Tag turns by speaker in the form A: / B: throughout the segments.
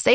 A: Say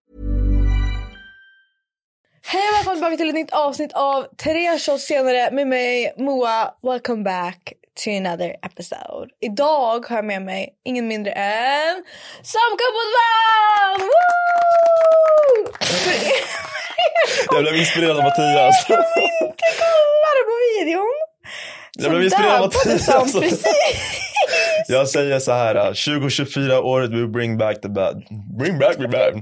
B: Hej och välkomna tillbaka till ett nytt avsnitt av Tre shots senare med mig Moa. Welcome back to another episode. Idag har jag med mig ingen mindre än Samka Bodman! Woo! För er
C: Jag blev inspirerad av Mattias.
B: som inte kollade på videon.
C: Jag blev Alltså. inspirerad av Mattias.
B: Mattias. Precis.
C: Jag säger så här, uh, 2024 året we bring back the bad. Bring back the bad.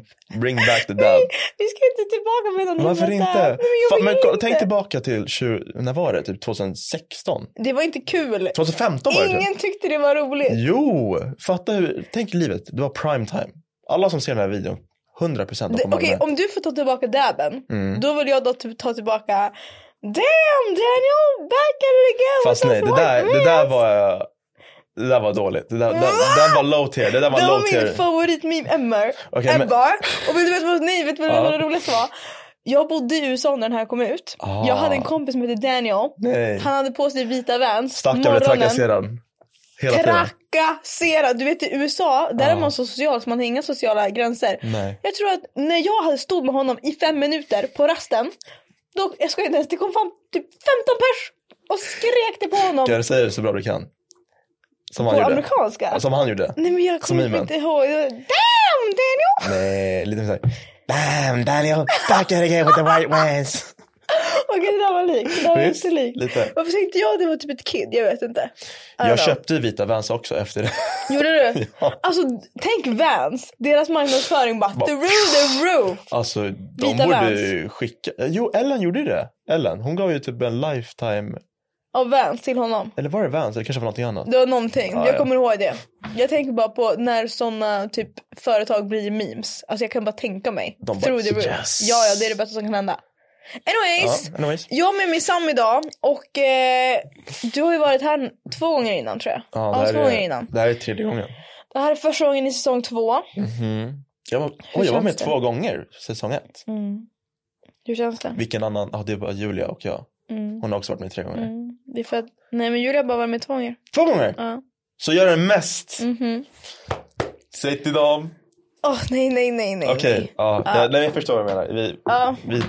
C: Bring back the dad.
B: Vi ska inte tillbaka med någon
C: Varför
B: liten-
C: inte?
B: Nej, men jag
C: Fan,
B: vill
C: men kolla,
B: inte.
C: tänk tillbaka till, 20, när var det? Typ 2016?
B: Det var inte kul.
C: 2015 var det typ.
B: Ingen tyckte det var roligt.
C: Jo, fatta hur, tänk livet, det var prime time. Alla som ser den här videon, 100% av
B: Det-
C: kommer
B: Okej,
C: ihåg det.
B: om du får ta tillbaka dabben,
C: Mm.
B: då vill jag då typ ta tillbaka Damn Daniel, back at it again!
C: Fast nej, det där, det där var, uh, det där var dåligt. Det där, den, den var low tier, det där var
B: Det
C: low
B: var
C: tier.
B: min favoritmeme ever.
C: Okej, men-
B: ever. Och men du vet vad, nej, vet du vad
C: Ja.
B: det roligaste var? Jag bodde i USA när den här kom ut.
C: Ah.
B: Jag hade en kompis som hette Daniel.
C: Nej,
B: Han hade på sig vita Vans.
C: stackarn blev trakasserad. Hela tiden. Ah.
B: Trakasserad! Du vet i USA, där
C: Ja.
B: är man så social så man har inga sociala gränser.
C: Nej.
B: Jag tror att när jag hade stod med honom i fem minuter på rasten, då, jag skojar inte ens, det kom fram typ 15 pers och skrek det på honom.
C: Kan du säga det så bra du kan? Som
B: på
C: han gjorde.
B: amerikanska.
C: Som han gjorde.
B: Nej men jag
C: som
B: kommer
C: memen.
B: inte ihåg. Jag- Damn Daniel!
C: Nej, lite såhär. Bam, Daniel, back at again with the white ones.
B: Okej det där var likt, det där var
C: Visst,
B: inte likt.
C: lite.
B: Varför tänkte jag det var typ ett kid? Jag vet inte. I don't know.
C: Jag köpte ju vita Vans också efter det.
B: Gjorde du?
C: Ja.
B: Alltså tänk Vans, deras marknadsföring bara the roof, the roof.
C: Alltså, de
B: Vita
C: borde
B: Vans.
C: ju skicka. Jo, Ellen gjorde ju det. Ellen, hon gav ju typ en lifetime.
B: Av Vans till honom.
C: Eller var det Vans? Eller kanske var någonting annat.
B: Det var någonting.
C: Ja,
B: jag
C: ja.
B: kommer ihåg det. Jag tänker bara på när såna typ företag blir memes. Alltså jag kan bara tänka mig.
C: De bara,
B: Through the roof.
C: yes.
B: Ja, ja, det är det bästa som kan hända.
C: Ja,
B: Anyways.
C: anyways.
B: Jag är med min Sam idag och eh, du har ju varit här två gånger innan tror jag.
C: Ja, det, här
B: två gånger
C: är,
B: innan.
C: det här är tredje gången.
B: Det här är första gången i säsong två.
C: Mhm. Jag var, oj, jag var
B: känns
C: med
B: det?
C: två gånger säsong ett.
B: Mm. Hur känns det?
C: Vilken annan? Ja, det var Julia och jag.
B: Mm.
C: Hon har också varit med tre gånger.
B: Mm. Det är för att, nej men Julia har bara varit med två gånger.
C: Två gånger?
B: Ja.
C: Så gör den mest.
B: Mhm.
C: Säg till dem.
B: Åh nej nej nej nej.
C: Okej,
B: nej.
C: ja.
B: Ja.
C: det- Nej, jag förstår vad du menar. Vi,
B: Ja.
C: vi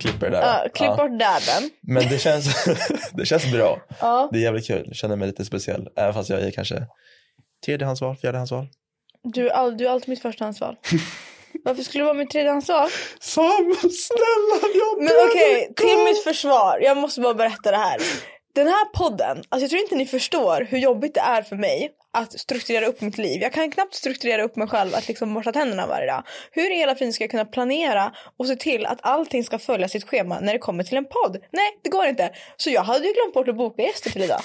C: klipper det där.
B: Ja, klipp
C: Ja.
B: bort dabben.
C: Men det känns, det känns bra.
B: Ja.
C: Det är jävligt kul. Jag känner mig lite speciell. Även fast jag är kanske tredjehandsval, fjärdehandsval.
B: Du, är all, du är alltid mitt förstahandsval. Varför skulle du vara mitt tredjehandsval?
C: Sam, snälla jag
B: Men okej, till mitt försvar. Jag måste bara berätta det här. Den här podden, alltså jag tror inte ni förstår hur jobbigt det är för mig att strukturera upp mitt liv. Jag kan knappt strukturera upp mig själv att liksom borsta tänderna varje dag. Hur i hela friden ska jag kunna planera och se till att allting ska följa sitt schema när det kommer till en podd? Nej, det går inte. Så jag hade ju glömt bort att boka gäster till idag.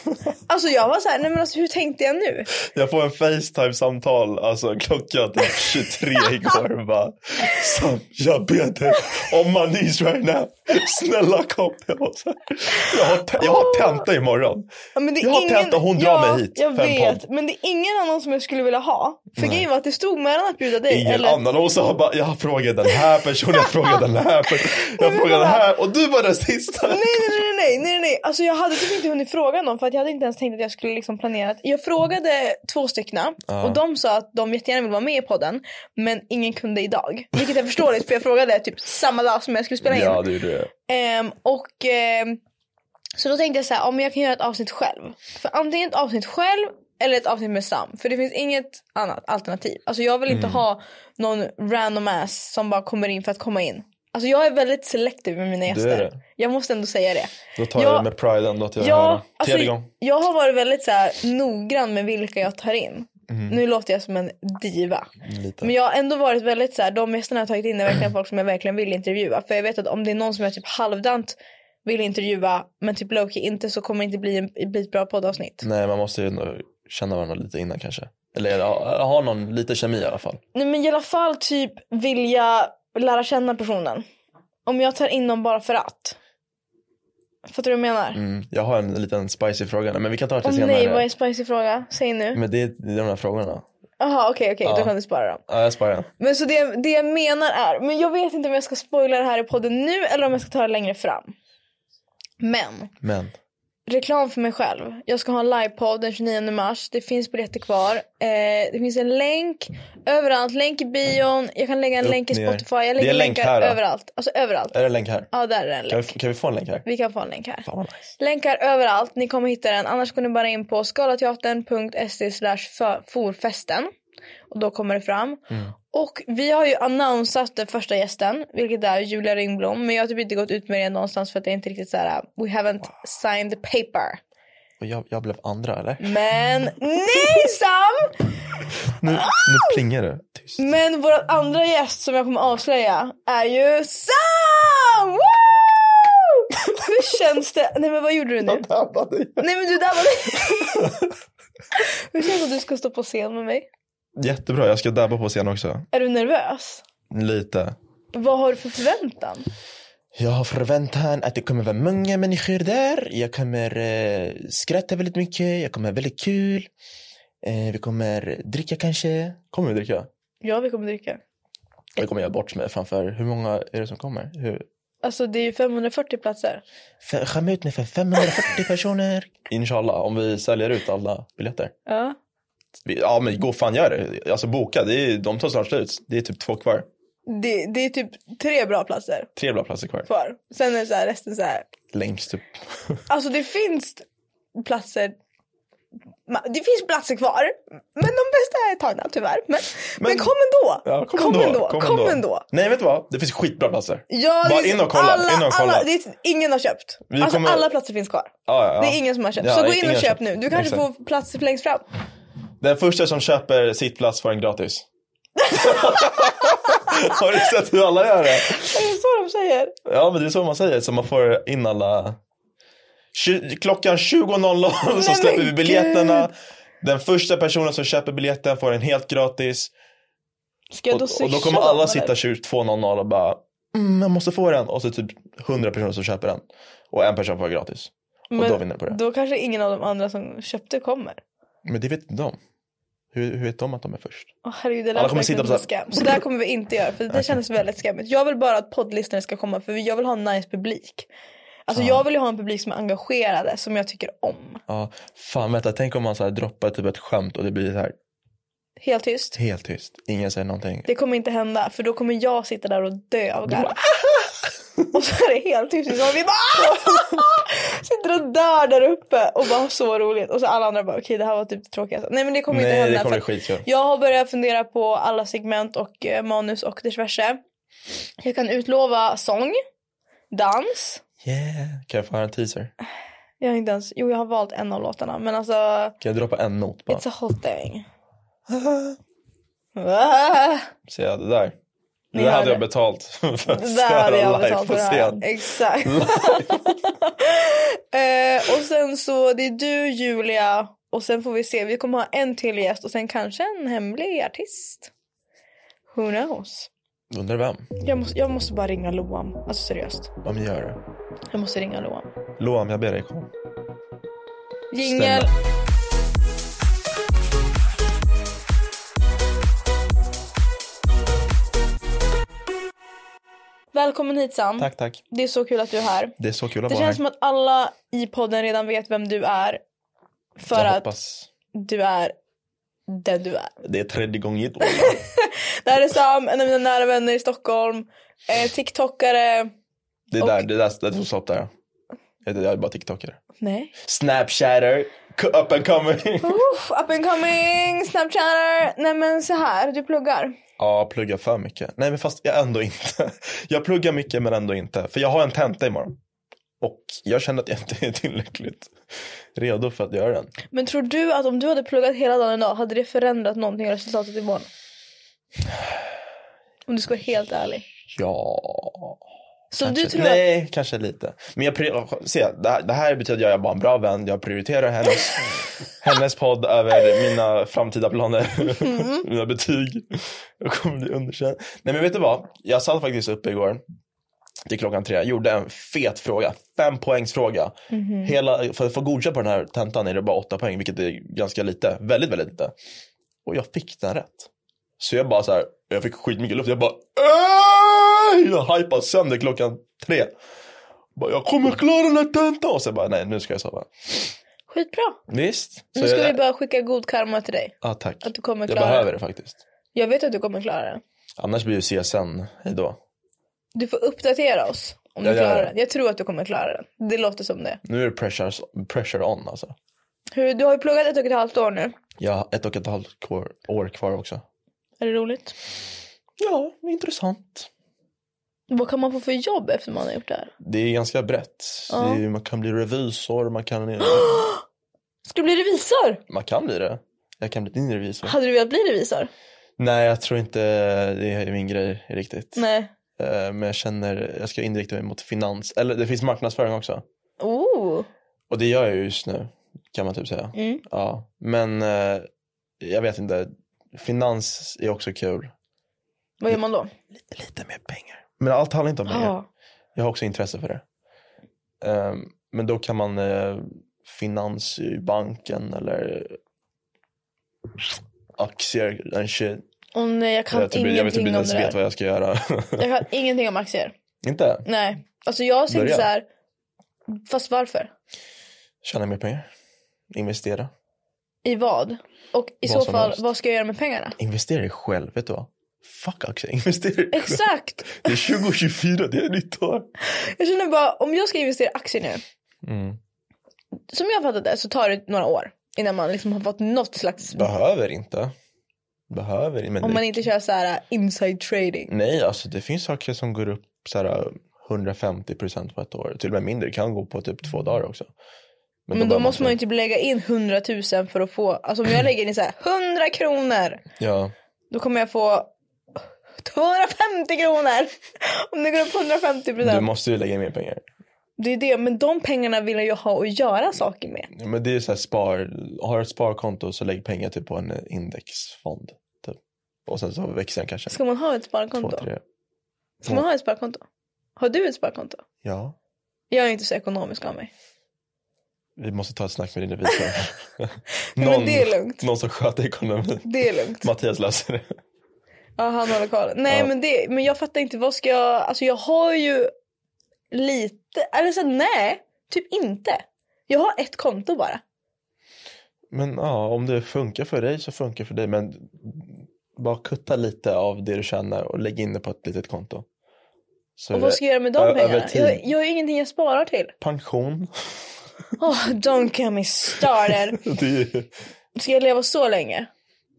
B: Alltså jag var så här, nej men alltså hur tänkte jag nu?
C: Jag får en Facetime-samtal, alltså klockan typ 23 igår. Bara, Sam, jag ber dig on my knees right now. Snälla kom. Jag, var så här, jag, har, te- jag har tenta imorgon.
B: Ja, men det är
C: Jag har
B: ingen...
C: tenta, hon drar mig hit
B: Jag
C: för en
B: vet, men det är ingen annan som jag skulle vilja ha. För grejen var att det stod mellan att bjuda dig
C: Ingen
B: eller...
C: annan. Och så har bara, jag frågar den här personen, jag frågar den här personen, jag
B: Men
C: frågar den
B: kolla.
C: här och du var den sista.
B: Nej, nej, nej, nej, nej, nej, nej. Alltså jag hade typ inte hunnit fråga någon för att jag hade inte ens tänkt att jag skulle liksom planera. att- Jag frågade två stycken
C: Ja.
B: och de sa att de jättegärna vill vara med i podden men ingen kunde idag. Vilket jag förstår för jag frågade typ samma dag som jag skulle spela in.
C: Ja, det gjorde jag.
B: Ehm, och ehm, så då tänkte jag så här, ja, men jag kan göra ett avsnitt själv. För antingen ett avsnitt själv eller ett avsnitt med Sam. För det finns inget
C: Mm.
B: annat alternativ. Alltså jag vill inte ha någon random ass som bara kommer in för att komma in. Alltså jag är väldigt selektiv med mina
C: Du är
B: gäster.
C: det.
B: Jag måste ändå säga det.
C: Då tar
B: Ja.
C: jag det med pride ändå att jag
B: Ja,
C: är här.
B: alltså-
C: Tredje gång.
B: Jag har varit väldigt så här, noggrann med vilka jag tar
C: Mm.
B: in. Nu låter jag som en diva.
C: Mhm, Lite.
B: Men jag har ändå varit väldigt så här, de gästerna jag har tagit in är verkligen folk som jag verkligen vill intervjua. För jag vet att om det är någon som jag typ halvdant vill intervjua men typ Loki inte så kommer det inte bli, en, bli ett bra poddavsnitt.
C: Nej, man måste ju ändå känna varandra lite innan kanske. Eller ja, ha någon, lite kemi i alla fall.
B: Nej men i alla fall typ vilja lära känna personen. Om jag tar in någon bara för att. Fattar du vad jag menar?
C: Mm. Jag har en liten spicy fråga, men vi kan ta det till
B: Åh
C: senare.
B: nej vad är en spicy fråga? Säg nu.
C: Men det är det är de här frågorna.
B: Jaha okej okej
C: Ja.
B: då kan du spara dem.
C: Ja, jag sparar den.
B: Men så det, det jag menar är, men jag vet inte om jag ska spoila det här i podden nu eller om jag ska ta det längre fram. Men
C: Men
B: reklam för mig själv. Jag ska ha en livepodd den 29 mars. Det finns biljetter kvar. Eh, det finns en länk överallt. Länk i bion. Jag kan lägga en
C: Upp,
B: länk i
C: ner.
B: Spotify. Jag
C: Det är
B: lägger
C: en länk
B: länkar
C: här, då?
B: överallt. Alltså överallt.
C: är det en länk här?
B: Ja där är det en
C: Kan vi,
B: länk.
C: kan vi få en länk här?
B: Vi kan få en länk här.
C: Fan vad nice.
B: Länkar överallt. Ni kommer hitta den. Annars går ni bara in på skalateatern.se E slash forfesten. Och då kommer det fram.
C: Mm.
B: Och vi har ju annonsat den första gästen, vilket är Julia Ringblom. Men jag har typ inte gått ut med det någonstans för att det är inte riktigt så här. äh, We haven't signed the paper.
C: Och jag, jag blev andra eller?
B: Men nej Sam!
C: Nu, nu plingar det. Tyst.
B: Men vår andra gäst som jag kommer avslöja är ju Sam! Woo! Hur känns det? Nej men vad gjorde du nu? Nej men du där var det. Hur känns det att du ska stå på scen med mig?
C: Jättebra, jag ska dabba på scen också.
B: Är du nervös?
C: Lite.
B: Vad har du för förväntan?
C: Jag har förväntan att det kommer vara många människor där. Jag kommer eh, skratta väldigt mycket. Jag kommer ha väldigt kul. Eh, vi kommer dricka kanske. Kommer vi dricka?
B: Ja vi kommer dricka.
C: Jag kommer göra bort mig framför. Hur många är det som kommer? Hur?
B: Alltså det är ju 540 platser.
C: F- Skämma ut mig för 540 personer. Inshallah, om vi säljer ut alla biljetter.
B: Ja.
C: Vi- Ja men gå fan gör det. Alltså boka, det är, de tar snart slut. Det är typ två kvar.
B: Det, det är typ tre bra platser
C: Tre bra platser kvar.
B: kvar. Sen är det så här, resten så här.
C: Längst typ. upp.
B: Alltså det finns platser Ma- det finns platser kvar, men de bästa är tagna tyvärr. Men, men, kom ändå!
C: Ja, kom, ändå.
B: Kom, ändå!
C: Nej vet du vad? Det finns skitbra platser.
B: Ja,
C: Bara
B: det är-
C: in och kolla,
B: Alla,
C: in och kolla.
B: Alla, det är, ingen har köpt.
C: Vi
B: alltså
C: kommer-
B: alla platser finns kvar.
C: Ja, ja, ja.
B: Det är ingen som har köpt.
C: Ja,
B: så gå
C: ingen
B: in och
C: har
B: köp
C: köpt.
B: nu. Du kanske
C: Exakt.
B: får plats längst fram.
C: Den första som köper sitt plats får en gratis. Har du sett hur alla gör det?
B: Är det så de säger?
C: Ja men det är så man säger, så man får in alla. Tju- Klockan 20.00 så
B: men
C: släpper vi
B: gud.
C: biljetterna. Den första personen som köper biljetten får den helt gratis.
B: Ska jag
C: Och,
B: då
C: och
B: swisha
C: då kommer
B: dem,
C: alla
B: eller?
C: sitta 22.00 och bara mm, jag måste få den. Och så typ 100 personer som köper den. Och en person får gratis. Och
B: Men
C: då vinner du på det.
B: Då kanske ingen av de andra som köpte kommer.
C: Men det vet inte de. Hur, hur vet de att de är först?
B: Åh, herregud, det
C: Alla
B: lät
C: kommer sitta
B: verkligen som en
C: på så här-
B: skam. Så där kommer vi inte göra för det kändes väldigt skämmigt. Jag vill bara att poddlyssnare ska komma för jag vill ha en nice publik. Alltså jag vill ju ha en publik som är engagerade, som jag tycker om.
C: Ja, fan vänta, tänk om man så här droppar typ ett skämt och det blir så här
B: Helt tyst.
C: helt tyst. Ingen säger någonting.
B: Det kommer inte hända för då kommer jag sitta där och dö av garv. Och så är det helt tyst. Och vi bara "Ah!" sitter och dör där uppe och bara har så roligt. Och så alla andra bara okej det här var typ det tråkigaste. Nej men det kommer inte
C: Nej,
B: hända.
C: det kommer
B: för-
C: bli skitkul.
B: Jag har börjat fundera på alla segment och eh, manus och diverse. Jag kan utlova sång, dans.
C: Yeah. Kan jag få höra en teaser?
B: Jag har inte ens, jo jag har valt en av låtarna men alltså
C: Kan jag droppa en not bara?
B: it's a whole thing.
C: Ah.
B: Ah,
C: Så jag, det där. Det
B: Ni
C: där
B: hade-
C: hade jag betalt för att
B: det där hade jag
C: störa live
B: betalt
C: på
B: för det här.
C: scen.
B: Exakt. eh, och sen så det är du Julia och sen får vi se. Vi kommer ha en till gäst och sen kanske en hemlig artist. Who knows?
C: Undrar vem?
B: Jag måste, jag måste bara ringa Loam. Alltså seriöst.
C: Om jag gör det.
B: Jag måste ringa Loam.
C: Loam, jag ber dig
B: Mm.
C: kom.
B: Jingel. Välkommen hit Sam.
C: Tack, tack.
B: Det är så kul att du är här.
C: Det är så kul att
B: Det
C: vara här.
B: känns som att alla i podden redan vet vem du är. För
C: jag
B: att
C: hoppas.
B: du är den du är.
C: Det är tredje gången i ett år.
B: Det här är Sam, en av mina nära vänner i Stockholm. Eh, TikTokare.
C: Det är
B: Och-
C: där, det är där, det är stopp där. Jag jag är bara tiktokare.
B: Nej.
C: Snapchatter, co- up and coming.
B: Uff, up and coming, snapchatter. Nej men så här, du pluggar.
C: Ja, plugga för mycket. Nej, men fast jag ändå inte. Jag pluggar mycket men ändå inte. För jag har en tenta imorgon. Och jag känner att jag inte är tillräckligt redo för att göra den.
B: Men tror du att om du hade pluggat hela dagen idag hade det förändrat någonting i resultatet imorgon? Om du ska vara helt ärlig.
C: Ja.
B: Så
C: kanske,
B: du tror att...
C: nej, kanske lite. Men jag, pri- se, det, här, det här betyder att jag är bara en bra vän. Jag prioriterar hennes, hennes podd över mina framtida planer.
B: Mm.
C: mina betyg. Jag kommer bli underkänd. Nej men vet du vad? Jag satt faktiskt uppe igår till klockan tre. Gjorde en fet fråga. Fem poängsfråga.
B: Mhm.
C: Hela, för att få godkänt på den här tentan är det bara åtta poäng, vilket är ganska lite. Väldigt, väldigt lite. Och jag fick den rätt. Så jag bara så här, jag fick skitmycket luft. Jag bara, "Ey!" jag hypade sönder klockan tre. Bara, jag kommer klara den här tentan. Och sen bara, nej nu ska jag sova.
B: Skitbra.
C: Visst. Så
B: Nu ska
C: jag,
B: vi bara skicka god karma till dig.
C: ja, tack.
B: Att du kommer
C: Jag
B: klara
C: behöver
B: det.
C: det faktiskt.
B: Jag vet att du kommer klara det.
C: Annars blir ju CSN, hejdå.
B: Du får uppdatera oss om du
C: Jag gör
B: klarar
C: det.
B: den. Jag tror att du kommer klara den. Det låter som det.
C: Nu är det pressure, pressure on alltså.
B: Hur, du har ju pluggat ett och ett halvt år nu.
C: Jag har ett och ett halvt kvar, år kvar också.
B: Är det roligt?
C: Ja, intressant.
B: Vad kan man få för jobb efter man har gjort det här?
C: Det är ganska brett.
B: Ja.
C: Det är, man kan bli revisor, man kan,
B: Ska du bli revisor?
C: man kan bli det. Jag kan bli din revisor.
B: Hade du velat bli revisor?
C: Nej, jag tror inte det är min grej riktigt.
B: Nej.
C: Eh, Men jag känner, jag ska inrikta mig mot finans, eller det finns marknadsföring också.
B: Oh.
C: Och det gör jag ju just nu, kan man typ säga.
B: Mm.
C: Ja, men eh, jag vet inte, finans är också kul.
B: Vad gör man då? Ah.
C: Lite mer pengar. Men allt handlar inte om pengar.
B: Ja.
C: Jag har också intresse för det. Ehm, men då kan man eh, finans i banken eller aktier and shit.
B: Och nej, jag kan
C: jag typ, jag vet typ
B: ingenting
C: inte
B: om det
C: ens
B: där.
C: vet vad jag ska göra.
B: Jag kan ingenting om aktier.
C: inte?
B: Nej. Alltså jag tänkte
C: Börja.
B: så här. Fast varför?
C: Tjäna mer pengar. Investera.
B: I vad? Och i
C: Vad
B: så
C: som
B: fall,
C: helst.
B: vad ska jag göra med pengarna?
C: Investera dig själv, vet du vad? Fuck aktier, investera dig själv.
B: Exakt!
C: Det är 2024, det är nytt år.
B: Jag känner bara, om jag ska investera i aktier nu.
C: Mm.
B: Som jag fattat det så tar det några år. Innan man liksom har fått något slags...
C: Behöver inte. Behöver inte. men
B: Om
C: det-
B: man inte kör så här uh, inside trading.
C: Nej, alltså det finns saker som går upp så här, 150 procent på ett år. Till och med mindre. Det kan gå på typ två dagar också.
B: Men, då,
C: behöver
B: måste man ju typ lägga in 100 000 för att få... Alltså om jag lägger in så här 100 kronor.
C: Ja,
B: Då kommer jag få 250 kronor. Om det går upp 150
C: du
B: procent.
C: måste ju lägga in mer pengar.
B: Det är det, men de pengarna vill jag ju ha och göra saker med.
C: Ja, Men det är ju så här spar. Har du ett sparkonto så lägg pengar typ på en indexfond. Typ. Och sen så växer den kanske.
B: Ska man ha ett
C: två,
B: sparkonto?
C: tre.
B: Ska man ha ett sparkonto? Har du ett sparkonto?
C: Ja,
B: Jag är inte så ekonomisk av mig.
C: vi måste ta ett snack med din revisor.
B: Nej, men det är lugnt.
C: någon som sköter ekonomin.
B: Det är lugnt.
C: Mattias löser det.
B: Ja, han håller koll. Nej,
C: Ja.
B: men, det, men jag fattar inte. Vad ska jag... Alltså jag har ju lite... Eller så nej. Typ inte. Jag har ett konto bara.
C: Men ja, om det funkar för dig så funkar det för dig. Men bara kutta lite av det du tjänar och lägg in det på ett litet konto. Så
B: Och
C: är det
B: vad ska jag göra med de
C: Ö-
B: pengarna?
C: över tid.
B: Jag, jag har ju ingenting jag sparar till.
C: Pension.
B: Oh, don't get me started.
C: Det är...
B: Ska jag leva så länge?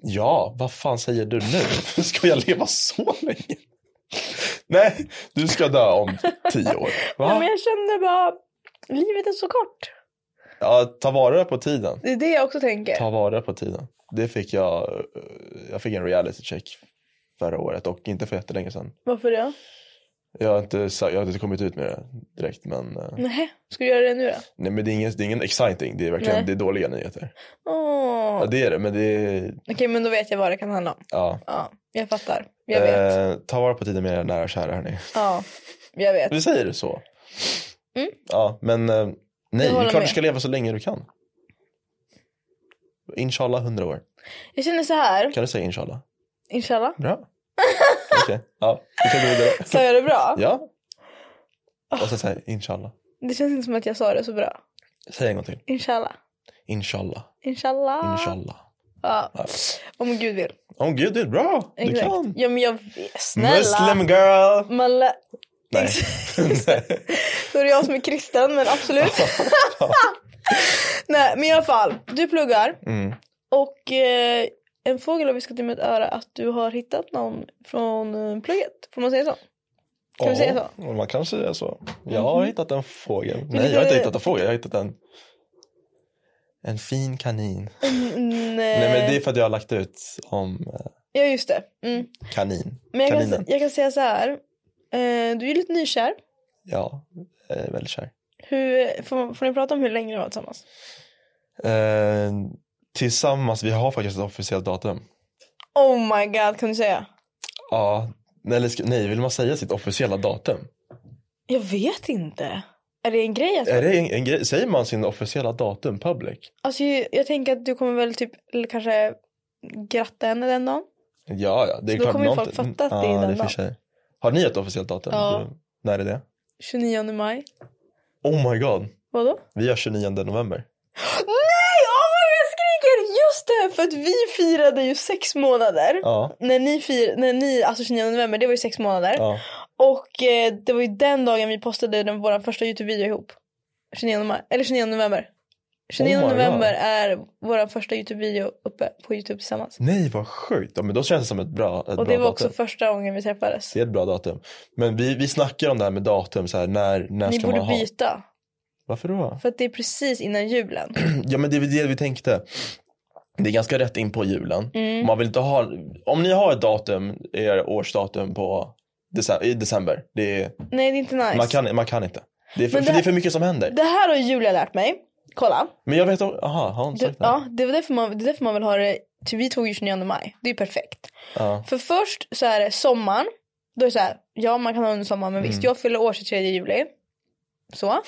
C: Ja, vad fan säger du nu? Ska jag leva så länge? Nej, du ska dö om tio år.
B: Nej,
C: Va?
B: Men jag känner bara, livet är så kort.
C: Ja, ta vara på tiden.
B: Det är det jag också tänker.
C: Ta vara på tiden. Det fick jag. eh, Jag fick en reality check förra året och inte för jättelänge sedan.
B: Varför det?
C: Jag har inte, sa- jag har inte kommit ut med det direkt men. eh,
B: Nej, ska du göra det nu då?
C: Nej men det är ingen, det är ingen exciting, det är verkligen
B: Nej.
C: det är dåliga nyheter.
B: Åh.
C: Ja det är det, men det är,
B: Okej, men då vet jag vad det kan handla om.
C: ja.
B: Ja, jag fattar. Jag vet.
C: Eh, ta vara på tiden med era nära och kära hörni.
B: Ja, jag vet.
C: Vi säger det så.
B: Mm.
C: Ja men eh, nej,
B: Jag
C: det
B: håller
C: är klart
B: med.
C: du ska leva så länge du kan. Inshallah hundra år.
B: Jag känner så här,
C: Kan du säga inshallah?
B: inshallah.
C: Bra. Okej, ja. Vi kan gå
B: Sa
C: vidare.
B: jag det bra?
C: Ja. Och sen säg inshallah.
B: Det känns inte som att jag sa det så bra.
C: Säg en gång till.
B: Inshallah.
C: Inshallah.
B: Inshallah.
C: Inshallah.
B: Ja.
C: Ja.
B: Om Gud vill.
C: Åh gud, det är bra. Du
B: Ah. Exakt.
C: kan.
B: Ja, men jag vet. Snälla.
C: Muslim girl.
B: Man lä-
C: Nej. nej.
B: Då är det jag som är kristen, men absolut. Nej, men i alla fall. Du pluggar.
C: Mm.
B: Och eh, en fågel har viskat i mitt öra att du har hittat någon från eh, plugget. Får man säga så? Kan vi säga så? Mm.
C: Ja, man kan säga så. Jag har hittat en fågel. Nej,
B: lite-
C: jag har inte hittat en fågel. Jag har hittat en, en fin kanin.
B: Mm,
C: Nej, men det är
B: eh,
C: för att jag har lagt ut om eh,
B: Ja just det. Mm.
C: kanin.
B: Men jag
C: Kaninen.
B: kan, jag kan säga så här. Eh, du är ju lite nykär.
C: Ja, jag är väldigt kär.
B: Hur, får, får ni prata om hur länge ni har varit tillsammans?
C: Eh, tillsammans, vi har faktiskt ett officiellt datum.
B: Oh my god kan du säga?
C: Ja, eller ska, nej, vill man säga sitt officiella datum?
B: Jag vet inte. Är det en grej? Att...
C: Är det en, en grej? Säger man sin officiella datum public?
B: Alltså, jag, jag tänker att du kommer väl typ eller kanske gratta henne den dagen.
C: Ja, ja, det är
B: Så då
C: klart.
B: kommer ju
C: någon-
B: folk fatta att det är
C: ja,
B: den
C: det är för
B: dagen.
C: sig. Har ni ett officiellt datum?
B: Ja.
C: När är det?
B: 29 maj.
C: Oh my god,
B: Vadå?
C: vi har 29 november.
B: Nej! Åh vad jag skriker! Just det! För att vi firade ju sex månader.
C: Ja,
B: När ni fir, när ni, alltså 29 november, det var ju sex månader.
C: ja.
B: Och eh, det var ju den dagen vi postade den, vår första Youtube-video ihop. 29 maj, eller 29 november. 29
C: Oh my
B: november
C: God.
B: är vår första Youtube-video uppe på Youtube tillsammans.
C: Nej, vad sjukt. Ja, men då känns det som ett bra, ett
B: Och
C: bra
B: det var
C: datum.
B: också första gången vi träffades.
C: Det är ett bra datum. Men vi, vi snackar om det här med datum, så här, när, när
B: Ni
C: ska
B: borde
C: man ha?
B: byta.
C: Varför då?
B: För att det är precis innan julen.
C: Ja, men det är väl det vi tänkte. Det är ganska rätt in på julen.
B: Mm.
C: Man vill inte ha, om ni har ett datum, er årsdatum på december, i december, det är,
B: Nej det är inte nice.
C: man, kan, man kan inte. Det är, för,
B: Men det
C: för det är
B: här-
C: för mycket som händer.
B: Det här har Julia lärt mig. Kolla.
C: Men jag vet, om- aha, har hon
B: Det,
C: sagt det?
B: ja, det, var därför man, det är därför man vill ha det. Ty, vi tog ju 29 maj. Det är ju perfekt.
C: Ja.
B: För först så är det sommaren. Då är det så här, ja man kan ha under sommaren men
C: Mm.
B: visst jag fyller år 23 juli. Så.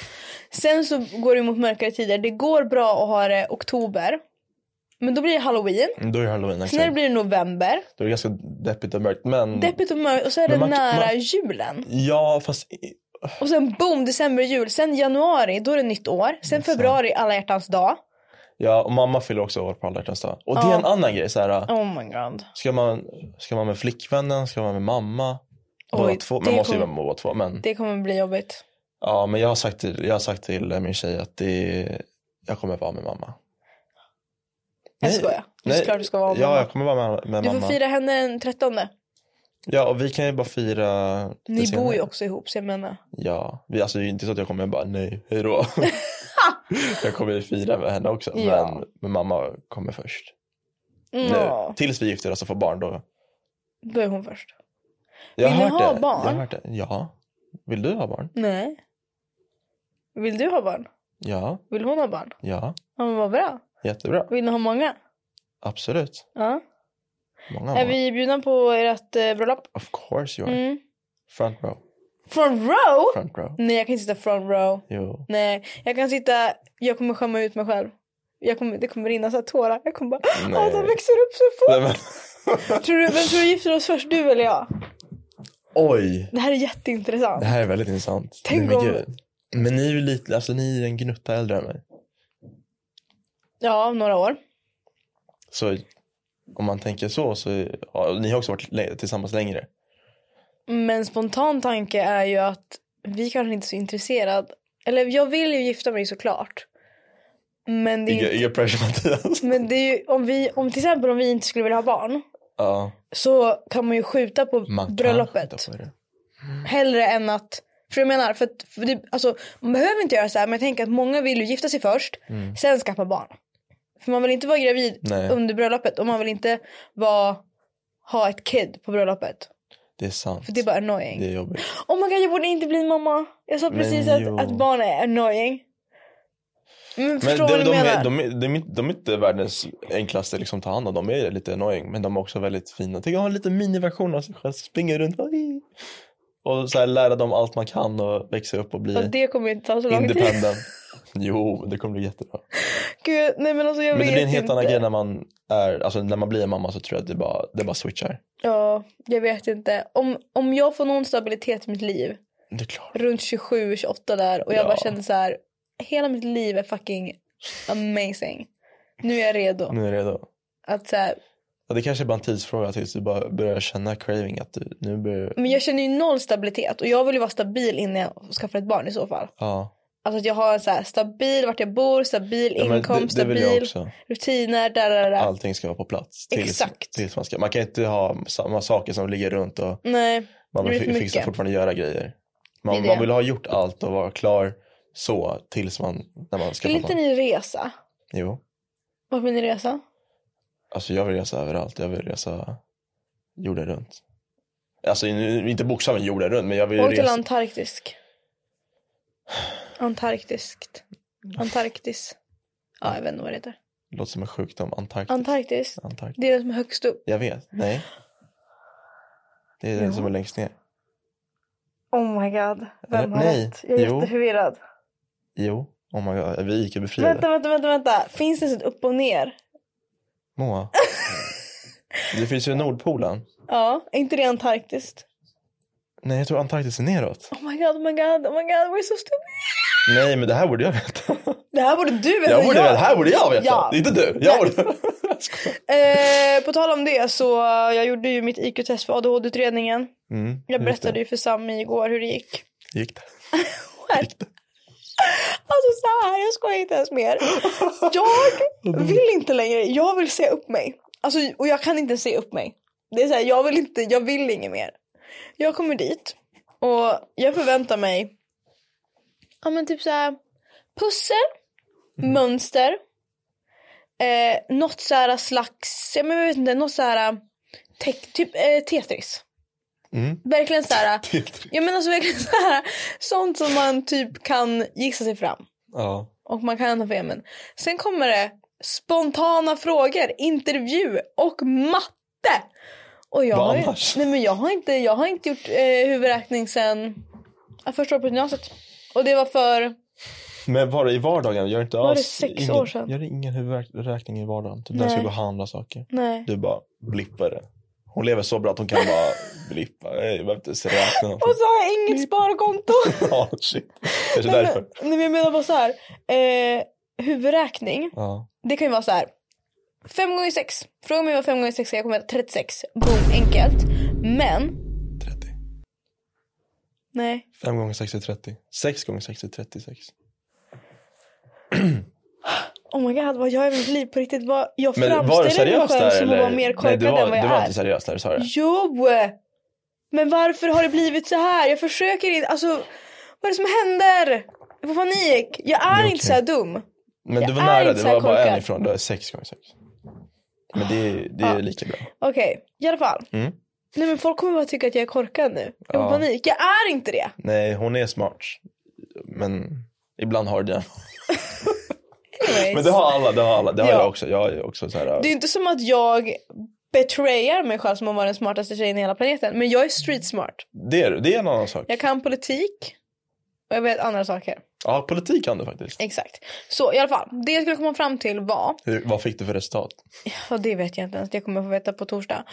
B: Sen så går det mot mörkare tider. Det går bra att ha det oktober. Men då blir det halloween.
C: Mm, Då är det halloween,
B: Sen är det
C: exakt.
B: blir det november.
C: Då är det ganska deppigt och mörkt. Men
B: Deppigt och mörkt och så är
C: Mm. Men
B: det
C: man-
B: nära
C: man-
B: julen.
C: ja, fast i-
B: Och sen boom december jul. Sen januari då är det nytt år. Sen februari alla hjärtans dag.
C: ja, och mamma fyller också år på alla hjärtans dag. Och det är
B: Ja.
C: en annan grej. Så här,
B: Oh my god.
C: Ska man, ska man med flickvännen? Ska man med mamma? Båda
B: Oj,
C: två. Man
B: det
C: måste ju
B: kommer-
C: vara med båda två. Men,
B: Det kommer bli jobbigt.
C: ja, men jag, har sagt till, jag har sagt till min tjej att det är, jag kommer vara med mamma.
B: Jag
C: Nej,
B: skojar. Det
C: nej,
B: är klart du ska vara med
C: Ja,
B: mamma.
C: jag kommer vara med, med
B: Du
C: mamma.
B: får fira henne den 13.
C: Ja, och vi kan ju bara fira. lite
B: Ni
C: senare.
B: bor ju också ihop så jag menar.
C: Ja, vi, alltså det är ju inte så att jag kommer bara nej, hej då. jag kommer ju fira med henne också.
B: Ja.
C: Men, men mamma kommer först.
B: Mm.
C: Nu, tills vi gifter oss och får barn då.
B: Då är hon först.
C: Jag har
B: Vill
C: hört
B: ni ha
C: det. Jag
B: barn?
C: har hört det. Ja. Vill du ha barn?
B: Nej. Vill du ha barn?
C: Ja,
B: Vill hon ha barn?
C: ja.
B: Ja men vad bra.
C: Jättebra.
B: Vill ni ha många?
C: Absolut.
B: Ja.
C: Många
B: Är
C: barn.
B: vi bjudna på ert eh, bröllop?
C: Of course you are.
B: Mm.
C: Front row.
B: Front row?
C: Front row.
B: Nej jag kan inte sitta front row.
C: Jo.
B: Nej jag kan sitta, jag kommer skämma ut mig själv. Jag kommer, det kommer rinna så här tårar. Jag kommer bara,
C: Nej.
B: åh de växer upp så fort.
C: Nej, men...
B: Tror du, vem tror du gifter oss först, du eller jag?
C: Oj.
B: Det här är jätteintressant.
C: Det här är väldigt intressant.
B: Tänk
C: Nej, men,
B: om-
C: gud. men ni är ju lite, alltså ni är ju en gnutta äldre än mig.
B: Ja, om några år.
C: Så om man tänker så så, ja, ni har också varit lä- tillsammans längre.
B: Men spontan tanke är ju att vi kanske inte är så intresserade. Eller jag vill ju gifta mig såklart. Men det är,
C: Inga,
B: ju-
C: inga pressure Mattias.
B: men det är ju om vi, om till exempel om vi inte skulle vilja ha barn.
C: Ja,
B: Så kan man ju skjuta på
C: man kan
B: bröllopet.
C: skjuta på det.
B: Hellre än att, för jag menar, för, att, för det, alltså, man behöver inte göra så här. Men jag tänker att många vill ju gifta sig först. Sen skaffa barn. För man vill inte vara gravid
C: Mm. Nej.
B: under bröllopet. Och man vill inte vara, ha ett kid på bröllopet.
C: Det är sant.
B: För det är bara annoying.
C: Det är jobbigt.
B: Oh my god jag borde inte bli mamma. Jag sa precis
C: jo.
B: att, att barn är annoying. Men
C: Men
B: förstår
C: de,
B: vad du
C: de,
B: menar?
C: är, de, är, de, är, inte- de är inte världens enklaste liksom, att ta hand om. De är lite annoying men de är också väldigt fina. Tänk att ha en liten miniversion av sig själv. Springa runt och, och så här, lära dem allt man kan och växa upp och bli
B: Och det kommer ju inte ta så lång tid.
C: independent. Jo, det kommer bli jättebra.
B: Gud, nej men alltså jag
C: Men det
B: vet
C: blir en helt
B: inte.
C: annan grej när man, är, alltså, när man blir en mamma så tror jag att det bara, det bara switchar.
B: Ja, jag vet inte. Om, om jag får någon stabilitet i mitt liv
C: Det är klart.
B: runt 27, 28 där och jag
C: Ja.
B: bara känner så här. Hela mitt liv är fucking amazing. Nu är jag redo.
C: Nu är jag redo.
B: Att så här,
C: Ja, det kanske är bara en tidsfråga tills du bara börjar känna craving att du nu börjar...
B: men jag känner ju noll stabilitet och jag vill ju vara stabil innan jag skaffar ett barn i så fall.
C: Ja.
B: Alltså att jag har en så här stabil vart jag bor, stabil
C: Ja, men
B: inkomst,
C: det, det vill jag
B: stabil
C: också.
B: rutiner, där, där, där.
C: Allting ska vara på plats. Tills,
B: Exakt.
C: Tills man, ska. man kan inte ha samma saker som ligger runt och
B: Nej,
C: man
B: Det blir
C: vill
B: för
C: fi- fixa
B: mycket.
C: fortfarande göra grejer. Man,
B: Det är
C: man
B: det.
C: vill ha gjort allt och vara klar så tills man, när man ska
B: vill inte ni resa?
C: Jo,
B: Vart vill ni resa?
C: alltså jag vill resa överallt. Jag vill resa jorden runt. Alltså nu- inte bokstavligen jorden runt men jag vill
B: Åk till
C: resa.
B: Antarktisk. Antarktiskt. Antarktis. Ja, jag vet inte vad det heter.
C: Låter som en sjukdom. Antarktis.
B: Antarktis.
C: Antarktis.
B: Det är det som är högst upp.
C: Jag vet. Nej. Det är den
B: Jo.
C: som är längst ner.
B: Oh my god.
C: Vem har Nej. rätt? Jag är Jo.
B: jätteförvirrad.
C: Jo. Oh my god. Vi är IQ-befriade.
B: vänta, vänta, vänta. Finns det ens ett upp och ner?
C: Moa. Det finns ju Nordpolen.
B: Ja, är inte det Antarktis?
C: Nej, jag tror Antarktis är neråt.
B: Oh my god, oh my god, oh my god, we're so stupid.
C: Nej, men det här borde jag veta.
B: Det här borde du veta.
C: Jag borde, det här borde jag veta.
B: Ja.
C: Inte du. Jag borde. Jag skojar.
B: Eh, på tal om det så eh, jag gjorde ju mitt IQ-test för ADHD-utredningen.
C: Mm,
B: Jag
C: just
B: berättade ju för Sami igår hur det gick.
C: det. Gick det?
B: Här.
C: Gick det?
B: Alltså så här, jag skojar inte ens mer. Jag vill inte längre, jag vill se upp mig. Alltså, och jag kan inte se upp mig. Det är så här, jag vill inte, jag vill inget mer. Jag kommer dit och jag förväntar mig, ja men typ så här, pussel, mönster, eh, något så här slags, ja men jag vet inte, något så här, tech, typ eh, Tetris.
C: Mm.
B: Verkligen så här,
C: Helt rätt.
B: jag menar så alltså, verkligen så här, sånt som man typ kan gissa sig fram.
C: Ja.
B: Och man kan ha fel men. Sen kommer det spontana frågor, intervju och matte. Och jag,
C: Vad
B: har, ju-
C: annars?
B: nej men jag, har, inte, jag har inte gjort eh, huvudräkning sen ja, första året på gymnasiet. Och det var för,
C: Men var det i vardagen? Gör inte
B: Var det
C: alls-
B: sex
C: ingen,
B: år sedan?
C: Gör det ingen huvudräkning i vardagen? Typ när du
B: Nej.
C: ska gå och handla saker.
B: nej.
C: Du bara blippar det. Hon lever så bra att hon kan bara blippa. Nej, Jag behöver inte ens räkna någonting.
B: Och så har jag inget sparkonto.
C: Ja, shit. Kanske
B: nej,
C: därför.
B: men, nej men jag menar bara så här. Eh, huvudräkning,
C: Ja.
B: det kan ju vara så här. 5 gånger 6. Fråga mig vad 5 gånger 6 är, jag kommer att 36. Boom, enkelt. Men,
C: 30.
B: nej.
C: 5 gånger 6 är 30. 6 gånger 6 är 36.
B: Oh my god, vad jag är i mitt liv på riktigt. Vad, jag
C: Men var du
B: framställer mig
C: seriös
B: själv
C: där
B: som att
C: eller?
B: vara mer korkad
C: du var,
B: än vad jag
C: du var
B: är.
C: inte seriös där, sa du?
B: Jo! Men varför har det blivit så här? Jag försöker inte, alltså vad är det som händer? Jag får panik. Jag är
C: Det är
B: inte
C: okej.
B: så här dum.
C: Men du var
B: Jag är
C: nära,
B: inte
C: det
B: så här
C: var bara en
B: korkad.
C: ifrån. Du är 6 gånger 6. Men det är, det är lika bra.
B: Okej, i alla fall.
C: Mm.
B: Nej men folk kommer bara tycka att jag är korkad nu. Jag får
C: Ja.
B: panik. Jag är inte det.
C: Nej, hon är smart. Men ibland har du det.
B: Anyways.
C: Men det har alla, det har alla. Det har
B: Ja.
C: jag också. Jag är också så här,
B: Det är ju inte som att jag betrayar mig själv som att vara den smartaste tjejen i hela planeten. Men jag är street smart.
C: det, är, det är en annan sak.
B: Jag kan politik och jag vet andra saker.
C: Ja, politik kan du faktiskt.
B: Exakt. Så i alla fall, det jag skulle komma fram till var,
C: Hur, vad fick du för resultat?
B: ja det vet jag inte ens, det kommer jag få veta på torsdag.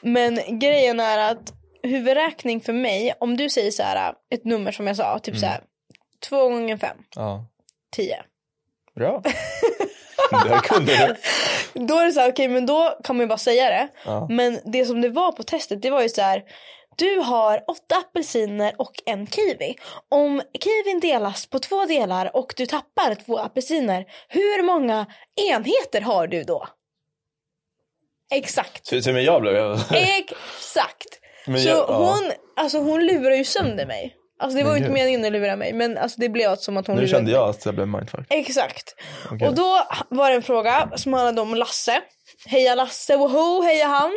B: Men grejen är att huvudräkning för mig, om du säger så här ett nummer som jag sa, typ så här 2 gånger 5,
C: Ja.
B: 10.
C: Bra. Där kunde du.
B: Då är det så här, okej men då kan man ju bara säga det.
C: Ja.
B: Men det som det var på testet, det var ju så här, du har åtta apelsiner och en kiwi. Om kiwin delas på två delar och du tappar två apelsiner, hur många enheter har du då? Exakt.
C: Så, så, men jag blev...
B: Exakt.
C: Men
B: så
C: jag- ja.
B: hon, alltså hon lurar ju sönder mig. Alltså det var
C: Men
B: ju inte
C: gud.
B: meningen att lura mig men alltså det blev som att hon
C: Nu
B: lurade
C: kände
B: mig.
C: jag att jag blev mindfuck.
B: Exakt.
C: Okej.
B: Och då var det en fråga som handlade om Lasse. Heja Lasse, woho, heja han.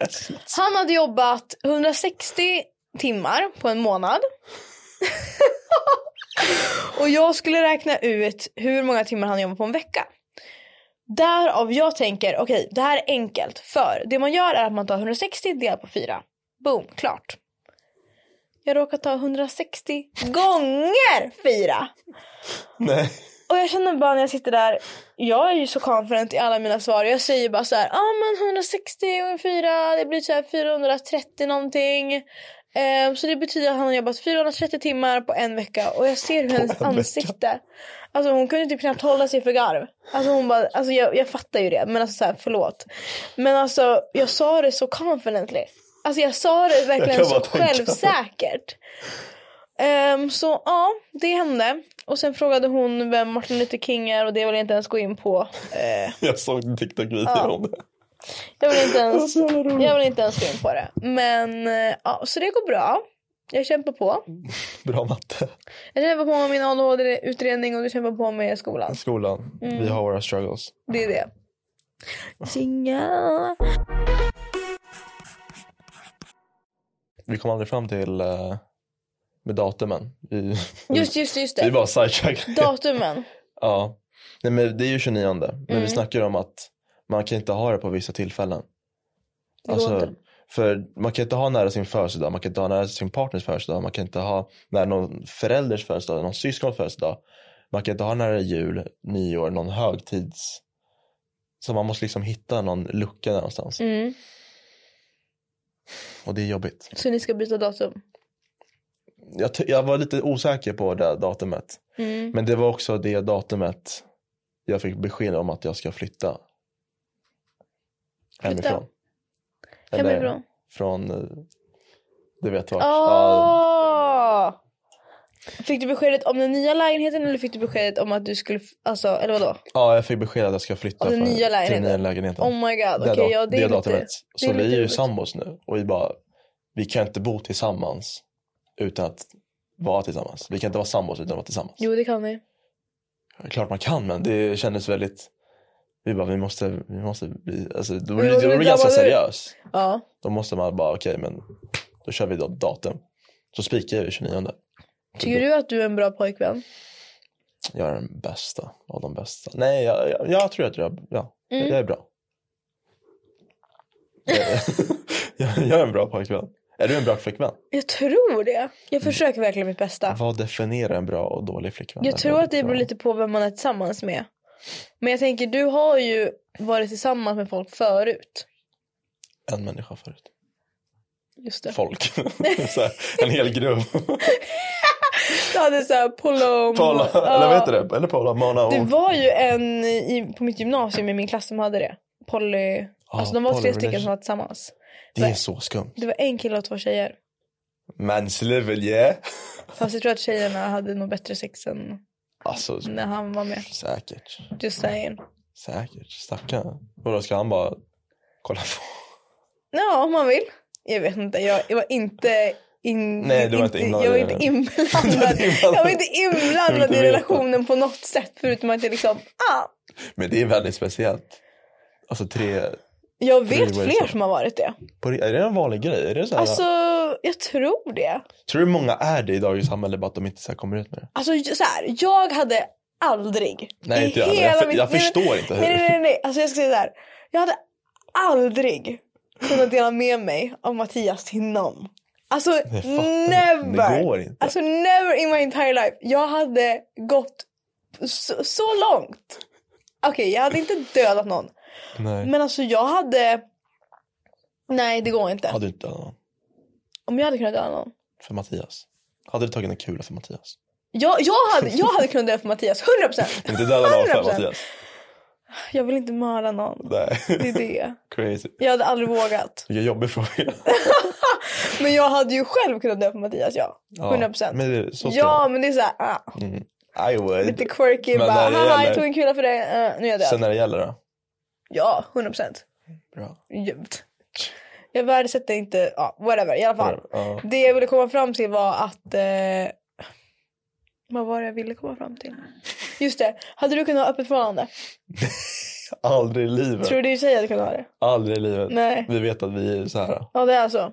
C: Yes.
B: Han hade jobbat 160 timmar på en månad. och jag skulle räkna ut hur många timmar han jobbar på en vecka. Därav jag tänker, okej det här är enkelt. För det man gör är att man tar 160 delat på 4. Boom, klart. Jag råkar ta 160 gånger 4.
C: Nej.
B: Och jag känner bara när jag sitter där, jag är ju så confident i alla mina svar. Jag säger bara så här, ja ah, men 160 gånger 4, det blir så här 430 någonting. Ehm, så det betyder att han har jobbat 430 timmar på en vecka och jag ser hur hennes
C: en vecka.
B: ansikte, alltså hon kunde typ knappt hålla sig för garv. Alltså hon bara, alltså jag, jag fattar ju det, men alltså så här, förlåt. Men alltså jag sa det så confidently. Alltså jag sa det verkligen
C: kan
B: så
C: bara tänka mig.
B: självsäkert. Ehm, så ja, det hände. Och sen frågade hon vem Martin Luther King är och det vill jag inte ens gå in på. Eh,
C: Jag såg en TikTok-video
B: Ja.
C: om det.
B: jag, vill inte ens,
C: Så jävla roligt.
B: jag vill inte ens gå in på det. Men eh, ja, så det går bra. Jag kämpar på.
C: Bra matte.
B: Jag kämpar på med min ADHD-utredning och du kämpar på med skolan.
C: Skolan,
B: Mm.
C: vi har våra struggles.
B: Det är det. Jingle.
C: Vi kom aldrig fram till eh, med datumen. Vi,
B: Just, just, just
C: vi
B: det.
C: bara sidetrackade.
B: Datumen.
C: Ja. Nej, men det är ju 29 men
B: Mm.
C: vi snackar om att man kan inte ha det på vissa tillfällen.
B: Det går
C: Alltså,
B: inte.
C: för man kan inte ha nära sin födelsedag, man kan inte ha nära sin partners födelsedag, man kan inte ha nära någon förälders födelsedag, någon syskons födelsedag. Man kan inte ha nära jul, nyår, någon högtids... Så man måste liksom hitta någon lucka någonstans.
B: Mm.
C: Och det är jobbigt.
B: Så ni ska byta datum.
C: Jag, ty- jag var lite osäker på det datumet.
B: Mm.
C: Men det var också det datumet jag fick besked om att jag ska flytta. Hemifrån. Eller
B: Hemifrån.
C: Från, eh, du vet vart. Ja,
B: Ah! Fick du beskedet om den nya lägenheten eller fick du beskedet om att du skulle, f- alltså, eller vadå?
C: Ja, jag fick besked att jag ska flytta
B: Och den
C: för-
B: nya
C: till den nya
B: lägenheten.
C: lägenheten.
B: Oh my god,
C: det
B: okej
C: dat-
B: ja det är lite...
C: datumet. Så
B: lite
C: vi är ju
B: roligt.
C: sambos nu och vi bara, vi kan inte bo tillsammans utan att vara tillsammans. Vi kan inte vara sambos utan att vara tillsammans.
B: Jo det kan vi.
C: Klart man kan men det kändes väldigt, vi bara vi måste, vi måste bli, alltså då
B: Vi måste
C: blir det
B: bli
C: ganska
B: grabbade.
C: seriös.
B: Ja.
C: Då måste man bara okej men då kör vi då datum. Så spikar vi 29.
B: Tycker du att du är en bra pojkvän?
C: Jag är den bästa av de bästa. Nej, jag, jag, jag tror att jag, ja, jag-
B: Mm.
C: jag är bra. Jag, jag, jag är en bra pojkvän. Är du en bra flickvän?
B: Jag tror det. Jag försöker verkligen mitt bästa.
C: Vad definierar en bra och dålig flickvän?
B: Jag
C: Eller
B: tror att det beror
C: bra-
B: lite på vem man är tillsammans med. Men jag tänker du har ju varit tillsammans med folk förut.
C: En människa förut.
B: Just det.
C: Folk. Så här, en hel grupp.
B: Du hade såhär Polom.
C: Paula,
B: Ja.
C: eller vad heter det? Eller Paula, Mona och...
B: Det var ju en i, på mitt gymnasium i min klass som hade det. Polly.
C: Ja,
B: alltså de var tre
C: polyrelation.
B: stycken som var tillsammans.
C: Det är så skumt.
B: Det var en kille och två tjejer.
C: Manslevel, yeah.
B: Fast jag tror att tjejerna hade nog bättre sex än
C: Alltså,
B: när han var med.
C: säkert.
B: Just saying.
C: Säkert. Stackarn. Vadå, ska han bara kolla på?
B: Ja, om man vill. Jag vet inte, jag, jag var inte... In,
C: Nej, du var inte
B: Jag var
C: inblandad i
B: inte
C: det.
B: inblandad. jag var inte
C: Du vill
B: inblandad
C: inte
B: i
C: veta.
B: relationen på något sätt. Förutom att jag liksom, ah,
C: Men det är väldigt speciellt. Alltså tre...
B: jag
C: Det
B: vet
C: var ju
B: fler
C: så.
B: som har varit det.
C: På, är det en vanlig grej? Är det så här,
B: Alltså, jag tror det.
C: Tror du många är det i dagens samhälle bara att de inte så här kommer ut med det?
B: Alltså så här, jag hade aldrig
C: Nej,
B: i
C: inte jag heller.
B: hela
C: Jag, för,
B: mitt-
C: jag
B: nej,
C: förstår inte hur.
B: Nej, nej, nej, nej, nej. Alltså jag ska säga så här. Jag hade aldrig kunnat dela med mig av Mattias till någon. Alltså
C: Det fattar jag.
B: never.
C: Det går inte.
B: Alltså never in my entire life. Jag hade gått så, så långt. Okej, jag hade inte dödat någon.
C: nej.
B: Men alltså jag hade... Nej, det går inte.
C: Hade du inte dödat någon
B: Om jag hade kunnat döda någon.
C: för Mattias? Hade du tagit en kula för Mattias?
B: Jag, jag, hade, jag hade kunnat döda för Mattias, 100%.
C: Inte dödat någon för
B: 100%.
C: Mattias?
B: Jag vill inte mörda någon. Det
C: Nej.
B: är det.
C: Crazy.
B: Jag hade aldrig vågat.
C: Vilken jobbig fråga.
B: Men jag hade ju själv kunnat dö för Mattias, ja.
C: Ja,
B: 100 procent.
C: Men det, så ska
B: Ja, men det är såhär, ah,
C: mm. I would.
B: lite quirky.
C: Men
B: bara,
C: när det
B: haha, jag
C: gäller-
B: tog en kula för dig, eh, nu är jag död.
C: Sen när det gäller då?
B: Ja, 100 procent.
C: Bra.
B: Jämt. Jag värdesätter inte, ja, whatever, i alla fall.
C: Ja.
B: Det jag ville komma fram till var att... Eh, vad var det jag ville komma fram till? Just det, hade du kunnat ha öppet förhållande?
C: Aldrig i livet.
B: Tror du din tjej hade kunnat ha det?
C: Aldrig i livet.
B: Nej.
C: Vi vet att vi är så här.
B: Ja, det är så.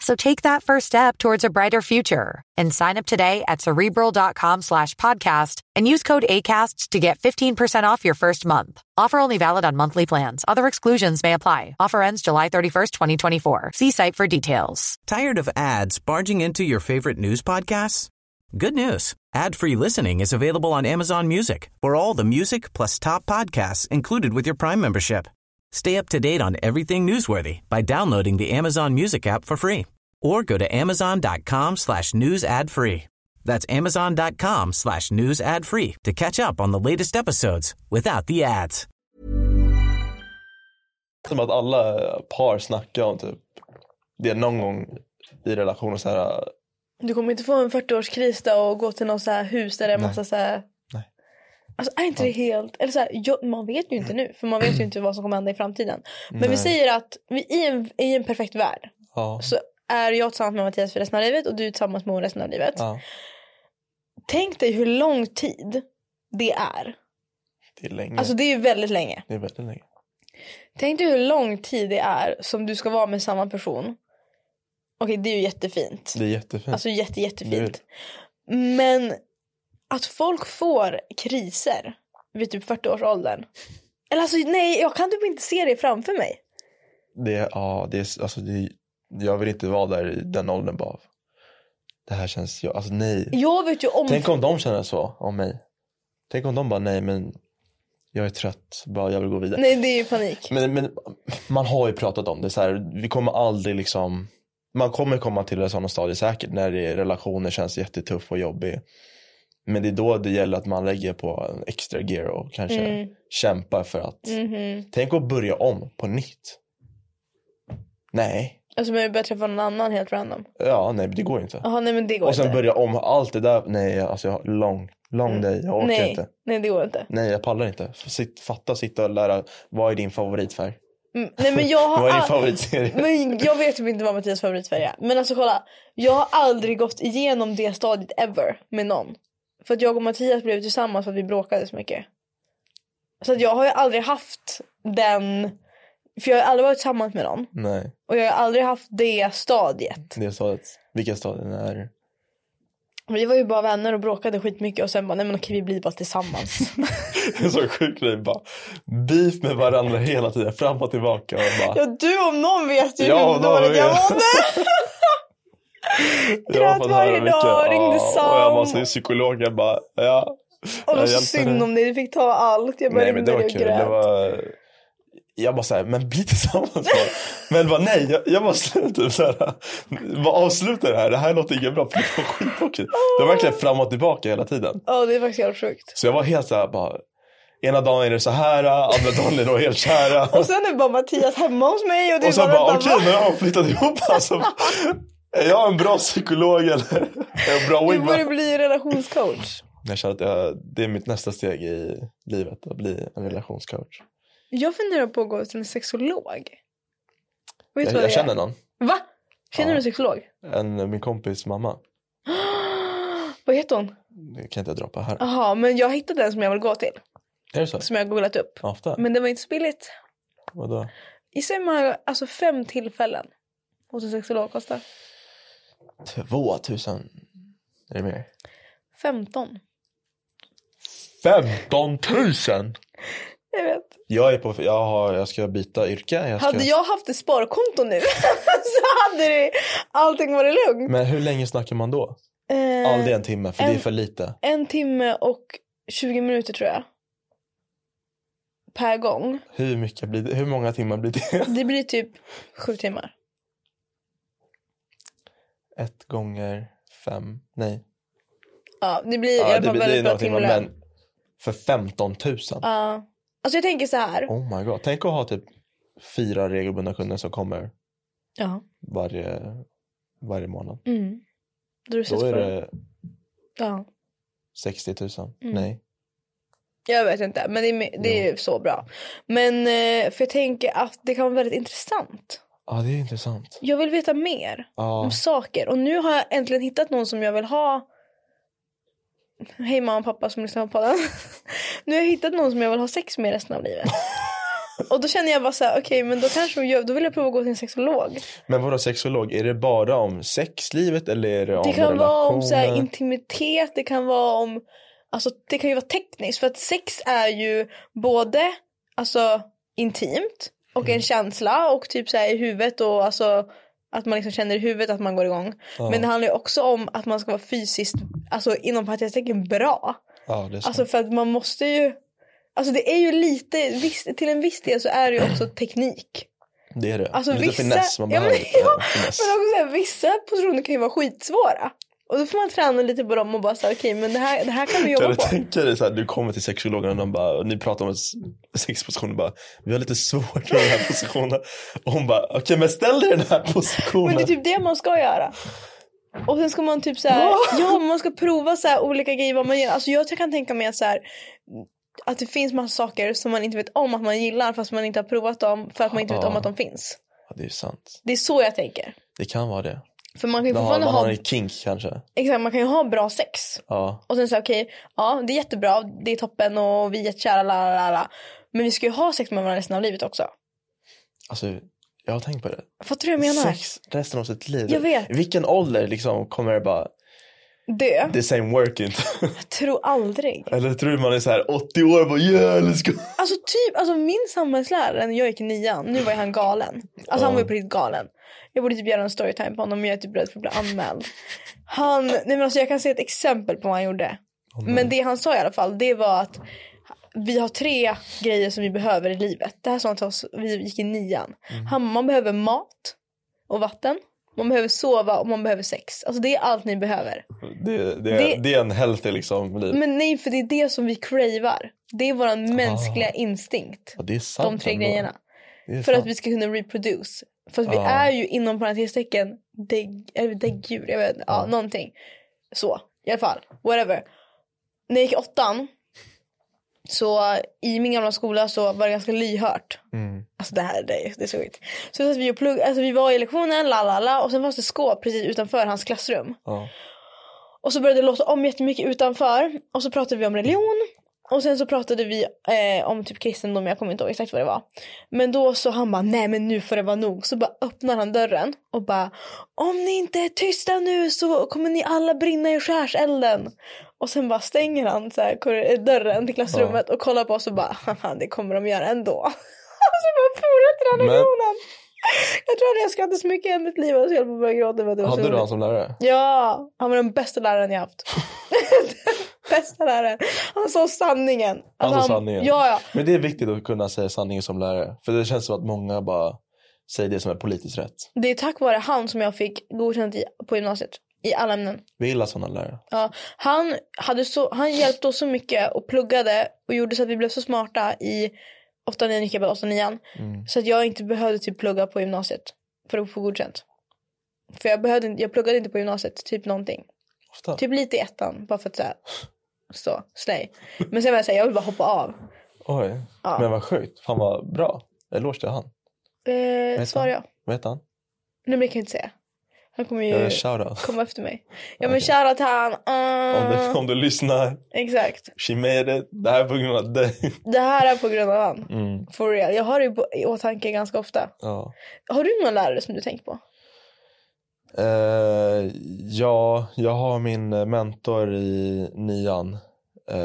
A: So take that first step towards a brighter future and sign up today at cerebral.com slash podcast and use code ACAST to get 15% off your first month. Offer only valid on monthly plans. Other exclusions may apply. Offer ends July 31st, 2024. See site for details.
D: Tired of ads barging into your favorite news podcasts? Good news. Ad-free listening is available on Amazon Music for all the music plus top podcasts included with your Prime membership. Stay up to date on everything newsworthy by downloading the Amazon Music app for free or go to amazon.com slash news ad free. That's amazon.com slash news ad free to catch up on the latest episodes without the ads.
C: Som att alla par snackar om typ det någon gång i relationen så här. "Ah,
B: Du kommer inte få en 40-årskris då och gå till någon så här hus där det är
C: Nej.
B: massa så här...
C: Nej.
B: Alltså är inte det helt... Eller så här, ja, man vet ju inte nu för man vet ju inte vad som kommer hända i framtiden. Men vi
C: Nej.
B: säger att vi, i, en, i en perfekt värld
C: Ja.
B: så är jag tillsammans med Mattias för resten av livet och du tillsammans med hon resten av livet.
C: ja.
B: Tänk dig hur lång tid det är.
C: Mm. Det är länge.
B: Alltså det är ju väldigt länge.
C: det är väldigt länge.
B: Tänk dig hur lång tid det är som du ska vara med samma person. Okej, det är ju jättefint.
C: Det är jättefint.
B: Alltså jätte, jättefint.
C: Lurigt.
B: Men att folk får kriser vid typ 40-årsåldern. Eller alltså nej, jag kan typ inte se det framför mig.
C: det är, ja, det är, alltså det är, jag vill inte vara där i den åldern bara. Det här känns, jag, alltså nej.
B: Jag vet ju om...
C: Tänk om de känner så om mig. Tänk om de bara nej men jag är trött, bara jag vill gå vidare.
B: Nej, det är ju panik.
C: Men, men man har ju pratat om det så här, vi kommer aldrig liksom man kommer komma till en sån stadie säkert när det är, relationer känns jättetuff och jobbig. Men det är då det gäller att man lägger på en extra gear och kanske
B: Mm.
C: kämpar för att
B: Mhm.
C: tänk att börja om på nytt. Nej,
B: Alltså men jag börjar träffa någon annan helt random.
C: ja nej det går ju inte.
B: Jaha, nej men det går
C: Och sen
B: inte. Mm.
C: börja om, allt det där, nej alltså jag har lång, lång day, jag orkar
B: nej,
C: inte.
B: nej, det går inte.
C: Nej jag pallar inte. Sitt, fatta, sitta och lära, vad är din favoritfärg?
B: Mm, nej men jag har...
C: vad är din
B: all-
C: favoritserie?
B: Men jag vet typ inte vad Mattias favoritfärg är. Men alltså kolla, jag har aldrig gått igenom det stadiet ever med någon. För att jag och Mattias blev tillsammans för att vi bråkade så mycket. Så att jag har ju aldrig haft den, för jag har aldrig varit tillsammans med någon.
C: Nej,
B: Och jag har aldrig haft det stadiet.
C: det är stadiet. Vilka stadien är det?
B: Vi var ju bara vänner och bråkade skitmycket och sen bara nej men okej vi blir bara tillsammans.
C: En sån sjuk grej bara. Beef med varandra hela tiden, fram och tillbaka. Och bara,
B: ja du om någon vet ju
C: Ja,
B: hur
C: någon
B: dåligt jag
C: vet.
B: mådde.
C: jag har
B: grät
C: fått
B: varje
C: höra
B: dag,
C: mycket,
B: ringde
C: ja, Och jag
B: Sam.
C: måste ju psykologen bara, ja.
B: Och det var
C: Jag
B: så
C: hjälpte
B: synd
C: dig.
B: om dig, du fick ta allt. Jag bara
C: Nej men det
B: ringde dig
C: var
B: och
C: kul.
B: grät.
C: Det var... Jag bara såhär, men bli tillsammans bara. Men bara nej, jag, jag måste typ såhär, vad avsluta det här, det här låter inget bra för det var skittråkigt. Det var verkligen fram och tillbaka hela tiden.
B: Ja det är faktiskt helt sjukt.
C: Så jag var helt såhär bara, ena dagen är det så här, andra dagen är de helt kära.
B: Och sen är bara Mattias hemma hos mig och du
C: Och sen
B: bara,
C: bara,
B: vänta, va?
C: okej nu har de flyttat ihop alltså. Är jag en bra psykolog eller? Är jag en bra
B: Du borde
C: wingman?
B: bli relationscoach.
C: Jag känner att jag, det är mitt nästa steg i livet, att bli en relationscoach.
B: Jag funderar på att gå till en sexolog. Vet du
C: Jag,
B: vad
C: jag
B: det
C: känner någon,
B: är? Va? Känner
C: Ja.
B: du en sexolog?
C: en, min kompis mamma.
B: Vad heter hon?
C: Det kan inte jag droppa här.
B: Jaha, men jag hittade den som jag vill gå till.
C: Är det så?
B: Som jag har googlat upp.
C: Ofta?
B: Men det var inte så billigt.
C: Vadå?
B: Gissa hur många, alltså fem tillfällen hos en sexolog kostar.
C: 2000. Är det mer?
B: 15.
C: 15 000!
B: Jag vet.
C: Jag är på, jag har, jag ska byta yrke. Jag ska...
B: Hade jag haft ett sparkonto nu så hade det, allting varit lugnt.
C: Men hur länge snackar man då?
B: Eh,
C: Aldrig en timme, för det är
B: en-
C: för lite.
B: En timme och 20 minuter tror jag. Per gång.
C: Hur mycket blir det? Hur många timmar blir det?
B: Det blir typ sju timmar.
C: Ett gånger fem, nej.
B: Ja, det blir i
C: Ja,
B: alla
C: det,
B: fall
C: blir- det är
B: väldigt bra
C: några timmar,
B: timlön.
C: men för 15 000.
B: Ja. Alltså jag tänker så här.
C: Oh my god. Tänk att ha typ fyra regelbundna kunder som kommer
B: Ja.
C: varje, varje månad.
B: Mm. Då, har du sett
C: Då är
B: för det...
C: det
B: ja.
C: 60 000.
B: Mm.
C: Nej.
B: Jag vet inte, men det är, me- det är ju så bra. Men eh, för jag tänker att det kan vara väldigt intressant.
C: Ja, det är intressant.
B: Jag vill veta mer
C: Ja,
B: om saker. Och nu har jag äntligen hittat någon som jag vill ha. Hej mamma och pappa som lyssnar på podden. nu har jag hittat någon som jag vill ha sex med resten av livet. Och då känner jag bara så här, okej men då kanske de gör, då vill jag prova att gå till en sexolog.
C: Men vadå sexolog, är det bara om sexlivet eller är det om
B: Det kan vara om så här
C: relationer?
B: intimitet, det kan vara om, alltså det kan ju vara tekniskt för att sex är ju både alltså intimt och
C: Mm.
B: en känsla och typ så här i huvudet och alltså att man liksom känner i huvudet att man går igång.
C: Ja.
B: Men det handlar ju också om att man ska vara fysiskt, alltså inom parentestecken bra.
C: Ja, det är sant.
B: Alltså för att man måste ju, alltså det är ju lite, viss, till en viss del så är det ju också teknik.
C: det är det.
B: alltså
C: Lite
B: vissa-
C: finess, man
B: Ja, men-
C: behöver lite
B: ja,
C: finess.
B: Men också så här, vissa positioner kan ju vara skitsvåra. Och då får man träna lite på dem och bara säga okej men det här, det här kan vi jobba
C: Eller
B: på.
C: tänker dig såhär, du kommer till sexologen och de bara, och ni pratar om s- sexpositioner bara, vi har lite svårt med den här positionen. Och hon bara, okej men ställ dig i den här positionen.
B: Men det är typ det man ska göra. Och sen ska man typ så här, ja men man ska prova så här olika grejer vad man gör. Alltså jag kan tänka mig att så här, att det finns massa saker som man inte vet om att man gillar fast man inte har provat dem för att man inte vet
C: Ja.
B: om att de finns.
C: Ja, det är ju sant.
B: Det är så jag tänker.
C: Det kan vara det.
B: För man kan ju
C: Man har,
B: fortfarande
C: man
B: ha,
C: har en kink kanske.
B: exakt man kan ju ha bra sex.
C: Ja.
B: Och sen så här, okej, ja det är jättebra, det är toppen och vi är jättekära, la la la, la. Men vi ska ju ha sex med varandra resten av livet också.
C: Alltså, jag har tänkt på det.
B: Fattar du vad jag menar?
C: Sex resten av sitt liv.
B: Jag vet.
C: I Vilken ålder liksom kommer det bara,
B: Dö?
C: det same work inte.
B: Jag tror aldrig.
C: Eller tror du man är så här 80 år och bara yeah let's go.
B: Alltså typ, alltså min samhällslärare när jag gick i nian, nu var ju han galen. Alltså han var ju på riktigt galen. Jag borde typ göra en storytime på honom men jag är typ rädd för att bli anmäld. Han, nej men alltså jag kan se ett exempel på vad han gjorde. men det han sa i alla fall det var att vi har tre grejer som vi behöver i livet. Det här sa han till oss, vi gick i nian. Han, man behöver mat och vatten. Man behöver sova och man behöver sex. Alltså det är allt ni behöver.
C: Det, det,
B: Det-
C: det... är en healthy liksom liv.
B: Men nej för det är det som vi cravar. Det är våran mänskliga instinkt.
C: Ja, det är sant
B: De tre
C: ändå.
B: grejerna.
C: Det är
B: För att
C: sant.
B: vi ska kunna reproduce. För att vi
C: Ja.
B: är ju inom parentestecken dägg- eller däggdjur, jag vet inte, ja, någonting. Så, i alla fall, whatever. När jag gick i åttan, så i min gamla skola så var det ganska lyhört.
C: Mm.
B: Alltså det här det är, det är så skit. Så satt vi och plugg, alltså vi var i lektionen, la la la, och sen fanns det skåp precis utanför hans klassrum.
C: Ja.
B: Och så började det låta om jättemycket utanför. Och så pratade vi om religion. Och sen så pratade vi eh, om typ kristendom, jag kommer inte ihåg exakt vad det var. Men då så han bara, nej men nu får det vara nog. Så bara öppnar han dörren och bara, om ni inte är tysta nu så kommer ni alla brinna i skärselden. Och sen bara stänger han så här, korri- dörren till klassrummet och kollar på oss och bara, haha det kommer de göra ändå. Och så bara fortsätter han
C: Men-
B: religionen. Jag tror aldrig jag skrattade så mycket i mitt liv och så höll på att börja gråta. för att det var så
C: Hade du
B: roligt.
C: han som lärare?
B: Ja, han var den bästa läraren jag haft. den bästa läraren. Han sa sanningen.
C: Han sa
B: Alltså,
C: sanningen.
B: Ja, ja.
C: Men det är viktigt att kunna säga sanningen som lärare. För det känns som att många bara säger det som är politiskt rätt.
B: Det är tack vare han som jag fick godkänt i, på gymnasiet. I alla ämnen.
C: Vi gillar sådana lärare.
B: Ja, han, hade så, han hjälpte oss så mycket och pluggade och gjorde så att vi blev så smarta i 8 9 gick jag bara 8 9
C: Mm.
B: Så att jag inte behövde typ plugga på gymnasiet för att få godkänt. För jag, behövde, inte- jag pluggade inte på gymnasiet, typ någonting.
C: Ofta.
B: Typ lite i ettan, bara för att säga så, slay. Men sen var jag såhär, jag vill bara hoppa av.
C: Oj.
B: Ja.
C: Men vad sjukt. Fan vad bra. Eloge till han.
B: Eh,
C: Vet
B: svarar
C: han?
B: jag?
C: Vad heter han?
B: Nej men det kan jag inte säga. Han kommer
C: Jag gör
B: ju
C: en shoutout.
B: komma efter mig. Ja men shoutout till han.
C: Om
B: Ah,
C: du, om du lyssnar.
B: Exakt.
C: She made it. Det här är på grund av dig.
B: Det här är på grund av han.
C: Mm.
B: For real. Jag har det ju på- i åtanke ganska ofta.
C: Ja.
B: Har du någon lärare som du tänker på?
C: Eh, ja, jag har min eh, mentor i nian. Eh,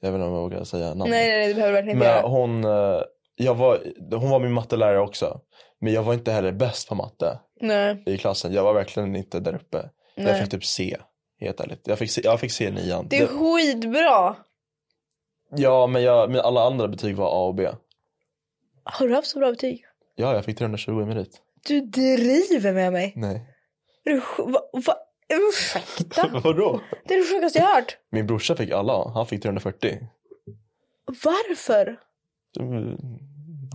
C: jag vet inte om jag vågar säga namnet.
B: Nej, nej, nej det behöver du verkligen inte
C: Men
B: göra.
C: hon, eh, jag var, hon var min mattelärare också. Men jag var inte heller bäst på matte
B: Nej.
C: i klassen. Jag var verkligen inte där uppe. Jag
B: Nej.
C: fick typ C, helt ärligt. Jag fick C, jag fick C i nian.
B: Det är
C: Det-
B: skitbra.
C: ja, men jag, men alla andra betyg var A och B.
B: Har du haft så bra betyg?
C: Ja, jag fick 320 i merit.
B: Du driver med mig.
C: Nej.
B: Är du sj- va, va, ursäkta?
C: Vadå?
B: Det är det sjukaste jag har hört.
C: Min brorsa fick alla A. Han fick 340.
B: Varför?
C: Mm,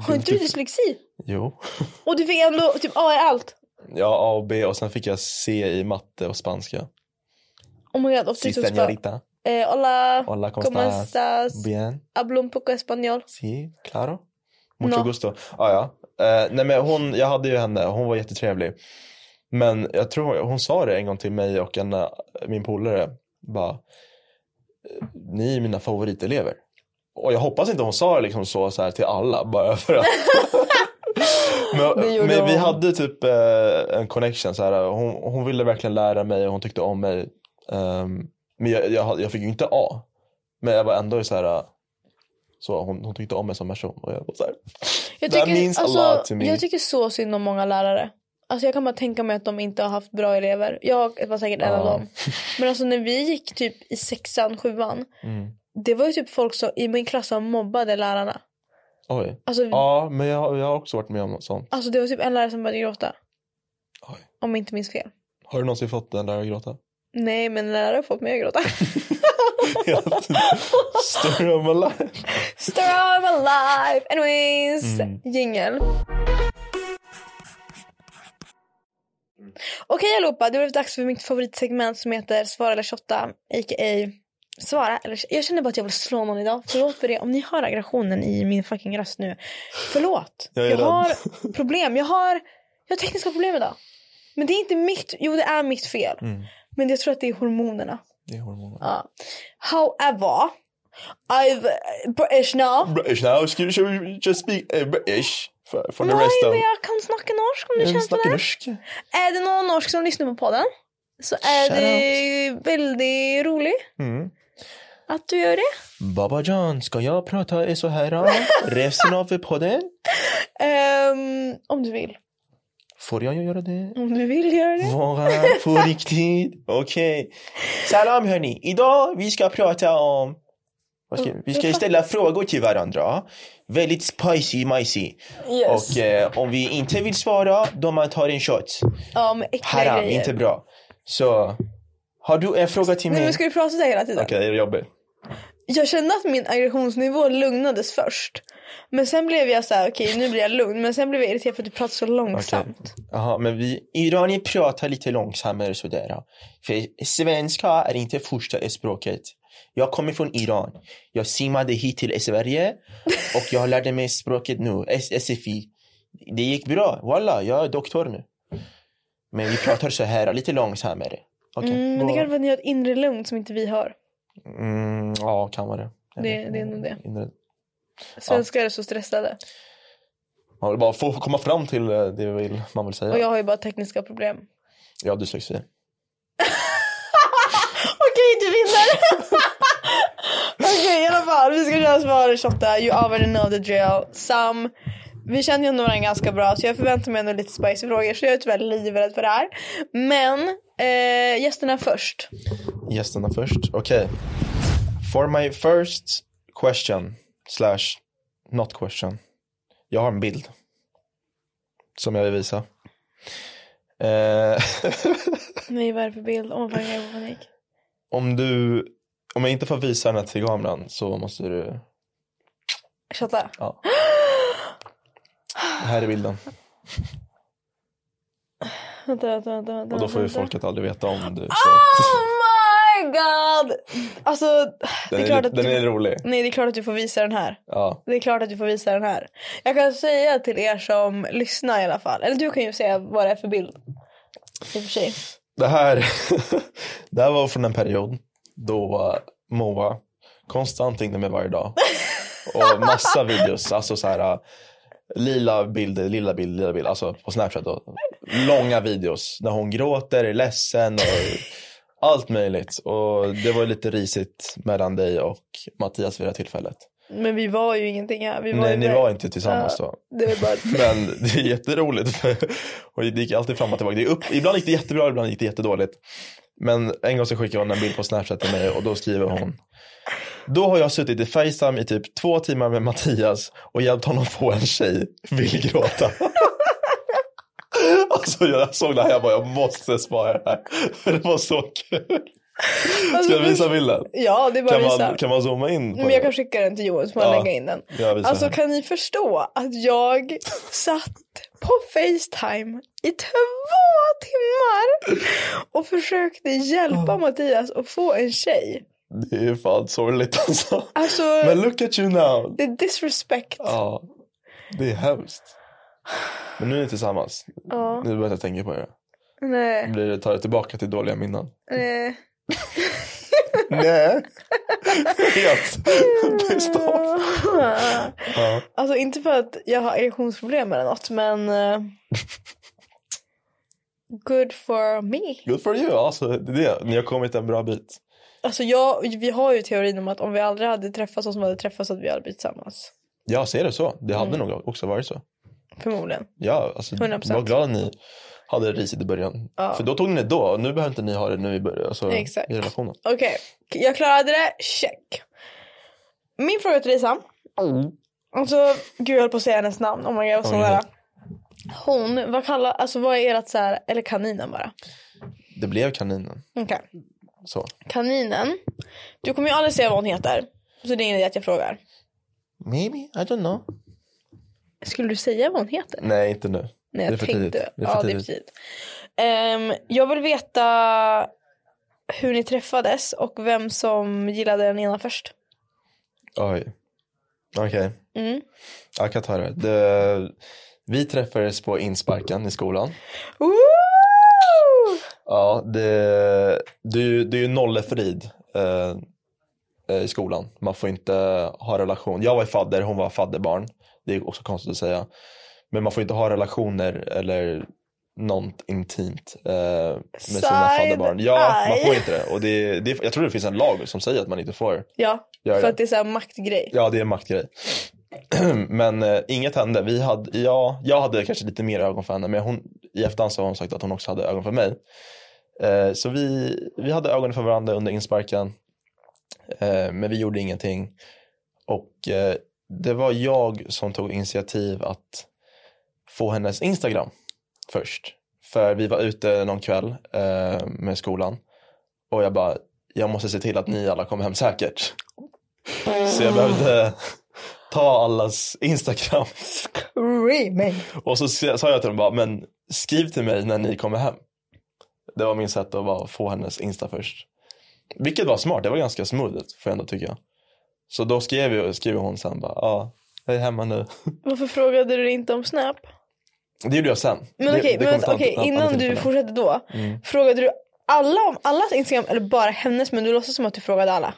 B: Har inte du dyslexi?
C: Jo.
B: Och du fick ändå typ A i allt.
C: Ja, A och B och sen fick jag C i matte och spanska.
B: Oh my god, ofta
C: Si,
B: är det så
C: señorita.
B: Eh, hola,
C: Hola, ¿cómo
B: ¿cómo
C: estás?
B: estás?
C: Bien.
B: Hablo un poco español.
C: Sí, claro. Mucho
B: Nå.
C: gusto. Ah, ja. Eh, nej, men hon, jag hade ju henne, hon var jättetrevlig. Men jag tror hon, hon sa det en gång till mig och en, eh, min polare. Bara, ni är mina favoritelever. Och jag hoppas inte hon sa det liksom så, så här till alla bara för att.
B: Det
C: men
B: gjorde
C: men vi
B: hon.
C: hade typ eh, en connection. Så här, hon, hon ville verkligen lära mig och hon tyckte om mig. Ehm, men jag, jag, jag fick ju inte A. Men jag var ändå så här. äh, Så hon, hon tyckte om mig som person. Och jag var så här,
B: Jag
C: That
B: tycker,
C: means a
B: alltså,
C: lot to me.
B: jag tycker så synd om många lärare. Alltså jag kan bara tänka mig att de inte har haft bra elever. Jag var säkert en av
C: Ja.
B: dem. Men alltså när vi gick typ i sexan, sjuan.
C: mm.
B: Det var ju typ folk som, i min klass som mobbade lärarna.
C: Oj.
B: Alltså,
C: Ja men jag, jag har också varit med om något sånt.
B: alltså det var typ en lärare som började gråta.
C: Oj.
B: Om jag inte minns fel.
C: Har du någonsin fått den där att gråta?
B: Nej men en lärare har fått mig att gråta.
C: Story of my life.
B: Story of my life! Anyways!
C: Mm.
B: Jingel. Okej allihopa, det har blivit dags för mitt favoritsegment som heter Svara eller shotta, a.k.a. Svara eller Jag känner bara att jag vill slå någon idag. Förlåt för det. Om ni hör aggressionen i min fucking röst nu. Förlåt.
C: Jag är rädd.
B: har problem. Jag har, jag har tekniska problem idag. Men det är inte mitt, jo det är mitt fel.
C: Mm.
B: Men jag tror att det är hormonerna.
C: Det är hormoner.
B: Ja. However, I've eh, British now.
C: British now. Ska should we just speak eh, British? For, for the
B: Nej,
C: rest of...
B: men jag kan snacka norsk om du
C: Jag
B: känner för
C: snackar
B: det.
C: norsk.
B: Är det någon norsk som lyssnar på podden så är
C: Shout
B: det väldigt roligt
C: Mm.
B: att du gör det.
C: Baba John, ska jag prata i så här resten av podden?
B: Ehm, om du vill.
C: Får jag göra det?
B: Om du vill göra det.
C: Vara på riktigt? Okej. Salam hörni. Idag vi ska prata om... Vad ska, vi ska ställa frågor till varandra. Väldigt spicy, micy.
B: Yes.
C: Och eh, om vi inte vill svara, då man tar en shot.
B: Ja, med äckliga
C: Haram,
B: grejer.
C: inte bra. Så, har du en fråga till
B: Nej,
C: mig?
B: men ska du prata sådär hela tiden?
C: Okej, det är jobbigt.
B: Jag kände att min aggressionsnivå lugnades först. Men sen blev jag så här, okej nu blir jag lugn. Men sen blev jag irriterad för att du pratar så långsamt.
C: Jaha, men vi iranier pratar lite långsammare sådär. För svenska är inte första språket. Jag kommer från Iran. Jag simmade hit till Sverige och jag lärde mig språket nu, S- SFI. Det gick bra, Wallah, jag är doktor nu. Men vi pratar så här, lite långsammare. Okej,
B: Mm, men det
C: gå-
B: kan vara att ni har ett inre lugn som inte vi har.
C: mm, ja, kan vara det. Jag
B: Det-
C: vet
B: det är
C: inte.
B: nog det.
C: Inre-
B: Svenskar är så stressade.
C: Man vill bara få komma fram till eh, det vill, man vill säga.
B: Och jag
C: Jag...
B: har ju bara tekniska problem.
C: jag har dyslexi.
B: Okej, du vinner! Okej, i alla fall. Vi ska köra svaret 28. You already know the drill. Sam. Vi känner ju ändå varandra ganska bra så jag förväntar mig ändå lite spicy frågor så jag är tyvärr livrädd för det här. Men eh, gästerna först.
C: gästerna först. Okej. For my first question slash not question. Jag har en bild. Som jag vill visa. Eh,
B: Nej, vad är det för bild? Åh, vad jag får panik.
C: om du, om jag inte får visa den här till kameran så måste du,
B: Chatta.
C: ja. Här är bilden.
B: Vänta, vänta, vänta. vänta
C: Och då får ju
B: vänta.
C: folket aldrig veta om du. Så.
B: Oh my god! Alltså, det
C: Den,
B: är
C: är,
B: klart
C: li-
B: att
C: den
B: du...
C: är rolig.
B: Nej, det är klart att du får visa den här.
C: Ja.
B: Det är klart att du får visa den här. Jag kan säga till er som lyssnar i alla fall. Eller du kan ju säga vad det är för bild. I och för sig.
C: Det här, det här var från en period då eh, Moa konstant ringde mig varje dag. Och massa videos, alltså så här eh, lila bilder, lilla bild, lila bild, alltså på Snapchat. Då. Långa videos när hon gråter, är ledsen och allt möjligt. Och det var lite risigt mellan dig och Mattias vid det här tillfället.
B: Men vi var ju ingenting här. Vi var
C: Nej,
B: ju
C: ni var inte tillsammans då.
B: Det var bara...
C: Men det är jätteroligt. För, och det gick alltid fram och tillbaka. Det är upp, ibland gick det jättebra, ibland gick det jättedåligt. Men en gång så skickade hon en bild på Snapchat till mig och då skriver hon. Då har jag suttit i Facetime i typ två timmar med Mattias och hjälpt honom få en tjej. Vill gråta. Alltså jag såg det här, jag bara jag måste spara det här. För det var så kul. Ska jag visa bilden?
B: Ja, det Alltså, är bara
C: Kan
B: att
C: man,
B: visa.
C: kan man zooma in? På
B: Men jag
C: det?
B: kan skicka den till Johan så får han
C: Ja,
B: lägga in den.
C: jag visar
B: Alltså
C: här.
B: kan ni förstå att jag satt på Facetime i två timmar och försökte hjälpa Mattias att få en tjej.
C: Det är ju fan sorgligt alltså.
B: Alltså,
C: Men look at you now.
B: det är disrespect.
C: Ja, det är hemskt. Men nu är ni tillsammans.
B: Ja.
C: Nu börjar jag tänka på det.
B: Nej.
C: Blir det, tar det tillbaka till dåliga minnen.
B: Nej.
C: Nej. Helt bestånd. Ja.
B: Alltså inte för att jag har erektionsproblem eller något men eh, good for me.
C: Good for you. Alltså, det är det. Ni har kommit en bra bit.
B: Alltså jag, vi har ju teorin om att om vi aldrig hade träffats och som hade träffats att vi hade blivit tillsammans.
C: Jag ser det så. Det hade nog också varit så.
B: Förmodligen.
C: Ja, alltså,
B: 100%.
C: var glad att ni hade risigt i början.
B: Ja.
C: För då tog ni det då. och Nu behöver inte ni ha det nu i början. Alltså,
B: Exakt.
C: I relationen.
B: Okej, jag klarade det. Check. Min fråga till dig Sam. Alltså, gud jag höll på att säga hennes namn. Oh my god, jag var så
C: Oj.
B: nära. Hon, vad kallar, alltså vad är ert så här, eller kaninen bara.
C: Det blev kaninen.
B: Okej.
C: Så.
B: Kaninen. Du kommer ju aldrig säga vad hon heter. Så det är ingen idé att jag frågar.
C: Maybe, I don't know.
B: Skulle du säga vad hon heter?
C: Nej, inte nu.
B: Nej,
C: det är
B: jag
C: för
B: tänkte.
C: tidigt. Det är för
B: ja, det är för
C: tidigt.
B: tidigt. Ehm, jag vill veta hur ni träffades och vem som gillade den ena först.
C: Oj. Okej.
B: Mm.
C: Jag kan ta det. det. Vi träffades på insparken i skolan.
B: Woo!
C: Ja, det, det, är ju- det är ju nollefrid eh, eh, i skolan. Man får inte ha relation. Jag var fadder, hon var fadderbarn. Det är också konstigt att säga. Men man får inte ha relationer eller något intimt eh, med sina
B: Side
C: fadderbarn. Ja, man
B: eye.
C: får inte det. Och det, det. Jag tror det finns en lag som säger att man inte får
B: Ja,
C: göra
B: för
C: det.
B: att det är så här maktgrej.
C: Ja, det är en maktgrej. men eh, inget hände. Vi hade, ja, jag hade kanske lite mer ögon för henne, men hon, i efterhand så har hon sagt att hon också hade ögon för mig. Eh, så vi, vi hade ögonen för varandra under insparken, eh, men vi gjorde ingenting. Och eh, det var jag som tog initiativ att få hennes Instagram först. För vi var ute någon kväll eh, med skolan och jag bara, jag måste se till att ni alla kommer hem säkert. Så jag behövde ta allas Instagram.
B: Screaming.
C: Och så sa jag till dem bara, men skriv till mig när ni kommer hem. Det var min sätt att bara få hennes Insta först. Vilket var smart, det var ganska smooth får jag ändå tycka. Så då skrev, jag, skrev hon sen bara, ja, jag är hemma nu.
B: Varför frågade du inte om Snap?
C: Det gjorde jag sen.
B: Men
C: Det-
B: okej,
C: det
B: men
C: kommer
B: vänta,
C: ta
B: okej,
C: ett annat
B: innan du
C: tillfälle. Mm.
B: fortsätter då. Frågade du alla om allas Instagram eller bara hennes? Men du låtsas som att du frågade alla.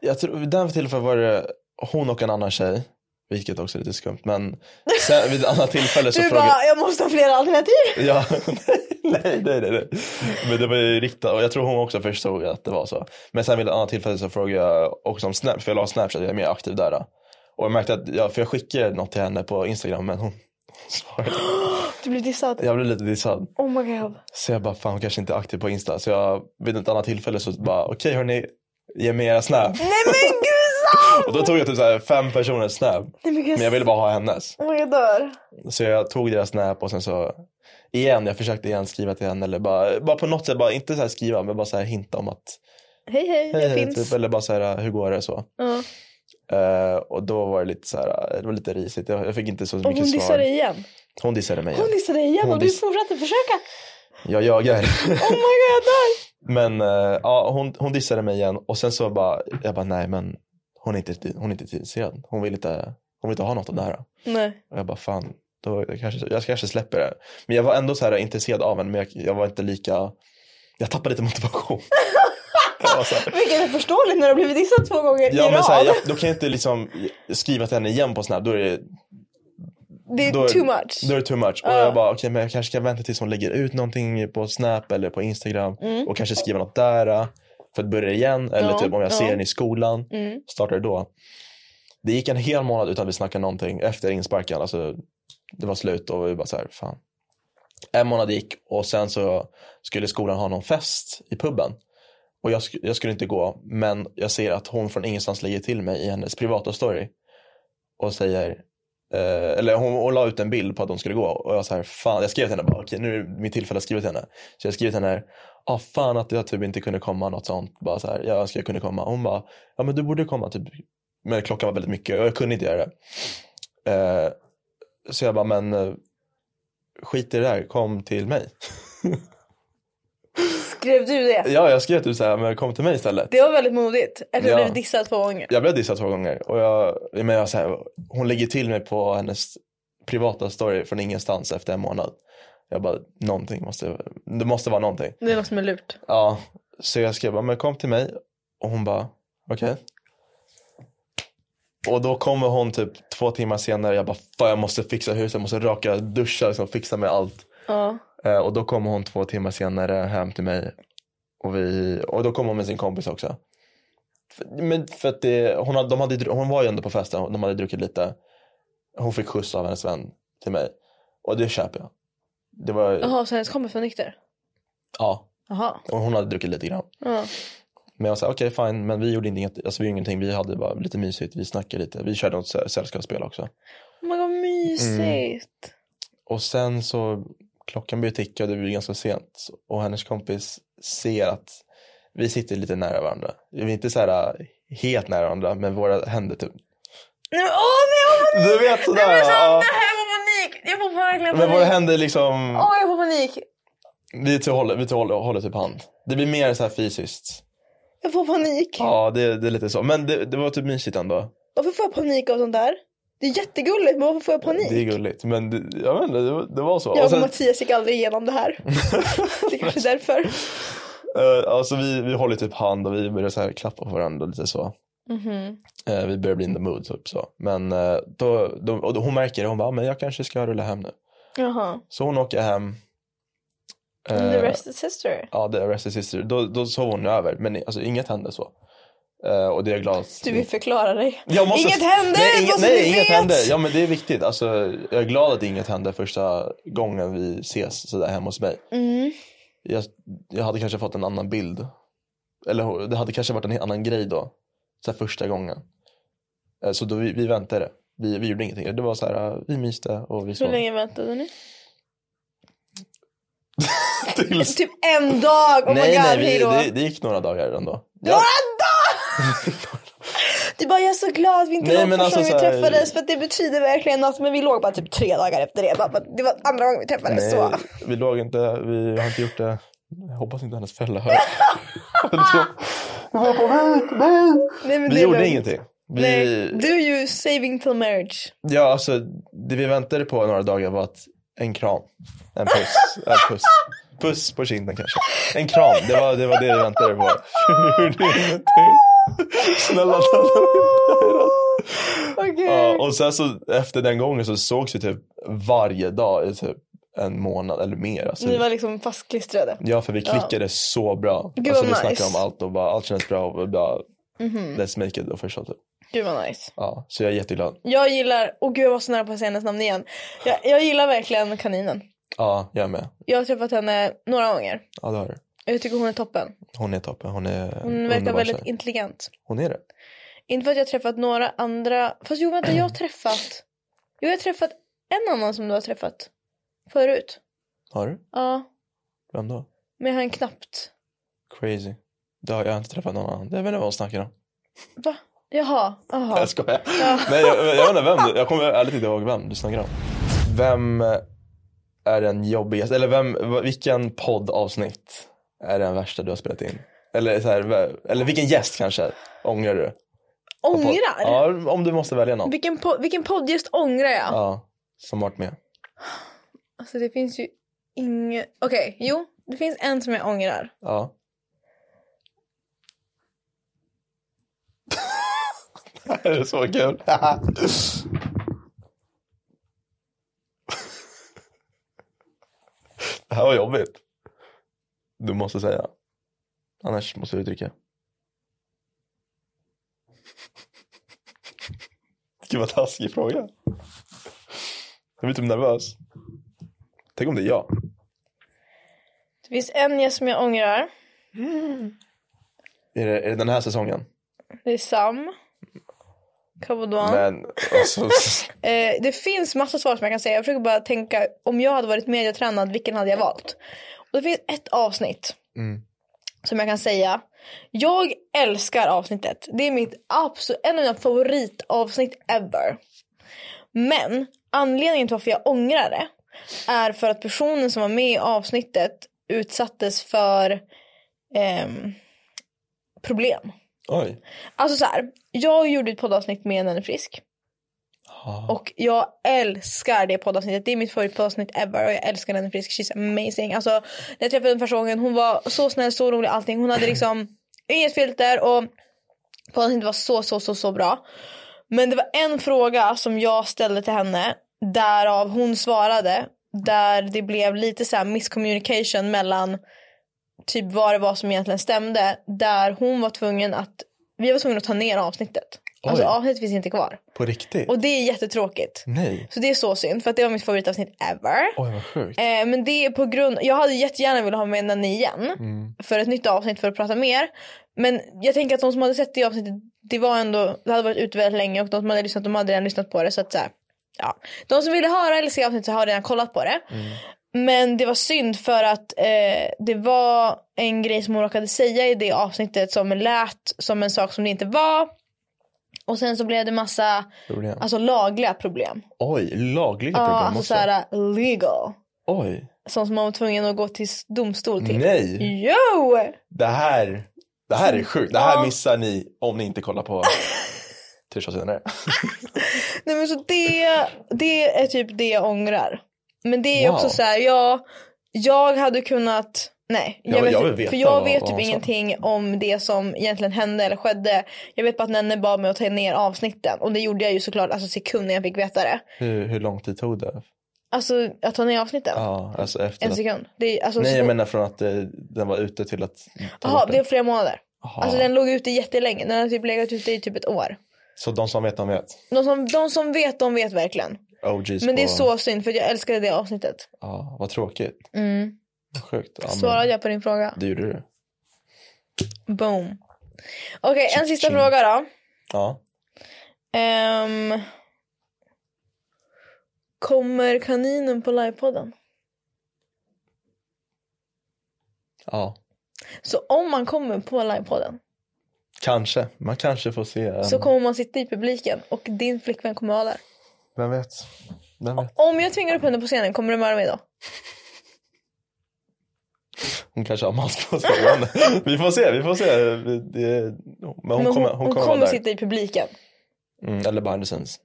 C: Jag tror, vid den tillfället var det hon och en annan tjej. Vilket också är lite skumt. Men sen, vid ett annat tillfälle så
B: Du
C: frågade...
B: bara, jag måste ha flera alternativ.
C: Ja, nej, nej, nej, nej. Men det var ju riktat och jag tror hon också förstod att det var så. Men sen vid ett annat tillfälle så frågade jag också om Snap, för jag la Snapchat, jag är mer aktiv där. då. Och jag märkte att, jag, för jag skickade något till henne på Instagram men hon svarade inte.
B: Du blev dissad.
C: Jag blev lite dissad.
B: Oh my god.
C: Så jag bara, fan hon kanske inte är aktiv på Insta. Så jag vid ett annat tillfälle så bara, okej hörni, ge mig era Snap.
B: Nej men gud Sam!
C: Och då tog jag typ så här fem personers Snap.
B: Nej men gud.
C: Men jag ville bara ha hennes.
B: Oh my god, jag dör.
C: Så jag tog deras snap och sen så igen, jag försökte igen skriva till henne eller bara, bara på något sätt, bara inte så här skriva men bara så här hinta om att
B: Hej hej,
C: hej,
B: jag
C: hej,
B: finns.
C: typ, eller bara så här hur går det så.
B: Ja.
C: Eh, och då var det lite så här, det var lite risigt, jag, jag fick inte så
B: Och
C: mycket
B: hon
C: svar.
B: dissade igen.
C: Hon dissade mig.
B: Hon
C: igen.
B: dissade igen
C: Hon
B: och du
C: diss-
B: fortsatte försöka.
C: Jag jagar.
B: Oh my god, jag dör.
C: men eh, ja, hon, hon dissade mig igen och sen så bara, jag bara nej men hon är inte, hon är inte intresserad. Hon vill inte, hon vill inte ha något av det här.
B: Nej.
C: Och jag bara fan, då jag kanske, jag kanske släpper det. Men jag var ändå så här intresserad av henne men jag, jag var inte lika, jag tappade lite motivation. jag var så här,
B: Vilket är förståeligt när du har blivit dissad två gånger
C: ja
B: i
C: men
B: rad.
C: så här, jag, då kan jag inte liksom skriva till henne igen på Snap, då är det,
B: det är
C: då är,
B: too much.
C: Då är det too much. Och jag bara okej men jag kanske kan vänta tills hon lägger ut någonting på Snap eller på Instagram och kanske skriva något där. äh, För att börja igen eller
B: Ja,
C: typ om jag ser
B: ja. Mm.
C: henne i skolan, startar det då. Det gick en hel månad utan vi snackade någonting efter insparken. Alltså, det var slut och vi bara så här, fan. En månad gick och sen så skulle skolan ha någon fest i puben. Och jag, sk- jag skulle inte gå men jag ser att hon från ingenstans lägger till mig i hennes privata story. Och säger, eh, eller hon, hon la ut en bild på att de skulle gå och jag så här, fan, jag skrev till henne bara, okej nu är det mitt tillfälle att skriva till henne. Så jag skrev till henne, ah fan att jag typ inte kunde komma något sånt, bara så här, jag önskar jag kunde komma. Och hon bara, ja men du borde komma typ. Men klockan var väldigt mycket och jag kunde inte göra det. Eh, så jag bara, men eh, skit i det där, kom till mig.
B: Skrev du det?
C: Ja, jag skrev typ så här, men kom till mig istället.
B: Det var väldigt modigt. Efter att du
C: Ja.
B: blivit dissad två gånger.
C: Jag blev dissad två gånger. Och jag, men jag, så här, hon lägger till mig på hennes privata story från ingenstans efter en månad. Jag bara, någonting måste, det måste vara någonting.
B: Det är något som är lurt.
C: Ja, så jag skrev bara, men kom till mig. Och hon bara, okej. Och då kommer hon typ två timmar senare. Jag bara, fan jag måste fixa huset, jag måste raka, duscha, liksom, fixa med allt.
B: Ja.
C: Eh, och då kommer hon två timmar senare hem till mig. Och, vi, och då kom hon med sin kompis också. För, men för att det, hon, hade, de hade, dru- hon var ju ändå på festen, de hade druckit lite. Hon fick skjuts av hennes vän till mig. Och det köper jag. Det var,
B: Jaha, så hennes kompis var nykter?
C: ja.
B: Jaha. Oh
C: Och hon hade druckit lite grann.
B: Ja.
C: Men jag sa okej fine, men vi gjorde inget, alltså vi gjorde ingenting, vi hade bara lite mysigt, vi snackade lite, vi körde något sä- sällskapsspel också.
B: Oh my god,
C: Mm.
B: mysigt.
C: Och sen så, klockan började ticka och det blev ganska sent och hennes kompis ser att vi sitter lite nära varandra. Vi är inte så här äh, helt nära varandra, men våra händer typ.
B: Nej, men, åh nej, jag får panik!
C: Du vet sådär!
B: Nej, men, så,
C: ja.
B: nej, jag får panik! Jag får verkligen
C: Men våra
B: panik.
C: händer liksom,
B: Åh, jag får panik.
C: vi typ håller, vi typ håller, håller typ hand. Det blir mer så här fysiskt.
B: Jag får panik.
C: Ja, det, det är lite så. Men det, det var typ mysigt ändå.
B: Varför får jag panik av sånt där? Det är jättegulligt, men varför får jag panik?
C: Det är gulligt. Men det, jag vet inte, det, var- det var så.
B: Jag
C: Och
B: och
C: sen-
B: Mattias gick aldrig igenom det här. det är kanske är därför.
C: Eh, alltså vi, vi håller typ hand och vi börjar så här klappa på varandra lite så.
B: Mm-hmm.
C: Eh, vi börjar bli in the mood typ så. Men eh, då, då, och då, hon märker det, hon bara, "Ah, men jag kanske ska rulla hem nu.
B: Jaha.
C: Så hon åker hem. Eh,
B: Mm, The rest is history.
C: Ja, det är rest is sister. Då, då sov hon över, men alltså, inget hände så. Eh, och det är jag glad att-
B: Du vill förklara dig.
C: Jag måste-
B: Inget hände!
C: Nej, inget,
B: måste
C: nej,
B: ni
C: inget
B: vet!
C: hände. Ja, men det är viktigt. Alltså, jag är glad att inget hände första gången vi ses sådär hemma hos mig.
B: Mm.
C: jag, jag hade kanske fått en annan bild. Eller hur? det hade kanske varit en helt annan grej då. Så här första gången. Eh, Så då vi, vi väntade. Vi, vi gjorde ingenting. Det var så här, eh, vi myste och vi
B: Hur
C: sov.
B: länge väntade ni?
C: Tills...
B: Typ en dag! Oh my
C: nej,
B: god,
C: nej, vi,
B: hejdå.
C: det, det gick några dagar ändå.
B: Några
C: Ja,
B: dagar! Du bara, jag är så glad att vi inte
C: Nej,
B: låg
C: men
B: första gången
C: alltså
B: vi
C: så här-
B: träffades för att det betyder verkligen något. Men vi låg bara typ tre dagar efter det. Bara, för att det var andra gången vi träffades.
C: nej,
B: Så.
C: vi låg inte, vi har inte gjort det. Jag hoppas inte hennes föräldrar hör.
B: Nej, men det
C: vi
B: är
C: gjorde
B: lugnt.
C: ingenting. Vi,
B: Nej, du är ju saving till marriage.
C: Ja, alltså det vi väntade på några dagar var att en kram, en puss, en puss. Puss på kinden kanske. En kram, det var det, var det vi väntade på. Vi gjorde ingenting. Snälla, snälla.
B: Okej.
C: Ja, och sen så efter den gången så sågs vi typ varje dag i typ en månad eller mer. Alltså,
B: Ni var liksom fastklistrade.
C: Ja, för vi klickade så bra.
B: Gud,
C: alltså, vi
B: vad
C: snackade
B: nice. Mhm.
C: om allt och bara allt kändes bra och vi bara let's make it official typ.
B: Gud vad nice.
C: Ja, så jag är jätteglad.
B: Jag gillar, åh gud jag var så nära på att säga hennes namn igen. Jag, jag gillar verkligen kaninen.
C: Ja, jag är med.
B: Jag har träffat henne några gånger.
C: Ja, det har du.
B: Och Jag tycker hon är toppen.
C: Hon är toppen. Hon är en
B: Hon verkar
C: underbar
B: väldigt
C: tjej.
B: intelligent.
C: Hon är det.
B: Inte för att jag har träffat några andra. Fast jo vänta jag har träffat. Jo jag har träffat en annan som du har träffat. Förut.
C: Har du?
B: Ja.
C: Vem då?
B: Men han knappt.
C: Crazy. Det har jag inte träffat någon annan. Jag vet inte vad hon snackar om.
B: Va? Jaha. Jaha.
C: Jag skojar. Nej, jag, jag vet inte vem. du- Jag kommer ärligt inte ihåg vem du snackar om. Vem är den jobbigaste? Eller vem, vilken poddavsnitt är den värsta du har spelat in? Eller, så här, vä- eller vilken gäst kanske? Ångrar du?
B: Ångrar?
C: Ja, om du måste välja någon.
B: Vilken, po- vilken poddgäst ångrar jag?
C: Ja, som varit med.
B: Alltså det finns ju inget. Okej, jo. Det finns en som jag ångrar.
C: Ja. det här är så kul. det här var jobbigt. Du måste säga. Annars måste du dricka. Gud vad taskig fråga. Jag blir typ nervös. Tänk om det är jag.
B: Det finns en gäst som jag ångrar.
C: Är det, är det den här säsongen?
B: Det är Sam. Kabodwan.
C: Men alltså,
B: Eh, det finns massa svar som jag kan säga. Jag försöker bara tänka om jag hade varit mediatränad, vilken hade jag valt? Och det finns ett avsnitt
C: Mm.
B: som jag kan säga. Jag älskar avsnittet. Det är mitt absolut, en av mina favoritavsnitt ever. Men anledningen till varför jag ångrar det är för att personen som var med i avsnittet utsattes för ehm, problem.
C: oj.
B: Alltså så här, jag gjorde ett poddavsnitt med en frisk.
C: Ja.
B: Och jag älskar det poddavsnittet. Det är mitt favoritpoddavsnitt ever och jag älskar den frisk. She's amazing. Alltså, när jag träffade henne första gången, hon var så snäll, så rolig, allting. Hon hade liksom inget filter och podden inte var så, så, så, så bra. Men det var en fråga som jag ställde till henne därav hon svarade där det blev lite så här miscommunication mellan typ vad det var som egentligen stämde där hon var tvungen att vi var tvungna att ta ner avsnittet. Alltså
C: Oj.
B: avsnittet finns inte kvar.
C: På riktigt?
B: Och det är jättetråkigt.
C: Nej.
B: Så det är så synd för att det var mitt favoritavsnitt ever.
C: Oj vad sjukt.
B: Eh, men det är på grund, jag hade jättegärna velat ha med Nanny igen för ett nytt avsnitt för att prata mer. Men jag tänker att de som hade sett det avsnittet, det var ändå, det hade varit ute väldigt länge och de som hade lyssnat, de hade redan lyssnat på det så att så här, ja. De som ville höra eller se avsnittet har redan kollat på det. Men det var synd för att eh, det var en grej som hon råkade säga i det avsnittet som lät som en sak som det inte var. Och sen så blev det massa
C: Problem.
B: alltså, lagliga problem.
C: Oj, lagliga
B: Ja,
C: problem
B: alltså
C: också.
B: såhär legal.
C: Oj.
B: Sånt som man var tvungen att gå till domstol typ. till.
C: Nej.
B: Jo!
C: Det här, det här är sjukt. Det här
B: Ja.
C: missar ni om ni inte kollar på Tre shots senare.
B: Nej men så det, det är typ det jag ångrar. Men det är
C: Wow.
B: också så här, jag, jag hade kunnat, nej.
C: Ja,
B: vet,
C: jag
B: typ-
C: vill veta
B: för jag
C: vad-
B: vet
C: vad
B: typ
C: hon sa.
B: ingenting om det som egentligen hände eller skedde. Jag vet bara att Nenne bad mig att ta ner avsnitten och det gjorde jag ju såklart alltså sekunden jag fick veta det.
C: Hur, hur lång tid tog det?
B: Alltså att ta ner avsnitten.
C: Ja, alltså efter
B: En
C: att...
B: sekund. Det är, alltså,
C: Nej,
B: så-
C: jag menar från att eh, den var ute till att... ta
B: Jaha,
C: bort
B: det är
C: den.
B: flera månader.
C: Jaha.
B: Alltså den låg ute jättelänge. Den har typ legat ute i typ ett år.
C: Så de som vet, de vet.
B: De som, de som vet, de vet verkligen.
C: OGs
B: Men det är
C: på-
B: så synd för jag älskade det avsnittet.
C: Ja, vad tråkigt.
B: Mm.
C: Vad sjukt. Ja, men
B: Svarade jag på din fråga?
C: Det gjorde du.
B: Boom. Okej, en sista
C: Cha-ching.
B: fråga då.
C: Ja.
B: Ehm, kommer kaninen på livepodden?
C: Ja.
B: Så om man kommer på livepodden
C: Kanske. Man kanske får se. eh,
B: så kommer man sitta i publiken och din flickvän kommer vara där.
C: Vem vet? Vem vet?
B: Om jag tvingar upp henne på scenen, kommer du mörda mig då?
C: Hon kanske har mask på sig. Men Vi får se, vi får se. Vi- det- Men hon,
B: Men
C: kommer,
B: hon
C: hon kommer, vara
B: kommer
C: där.
B: sitta i publiken.
C: Mm, eller behind the scenes.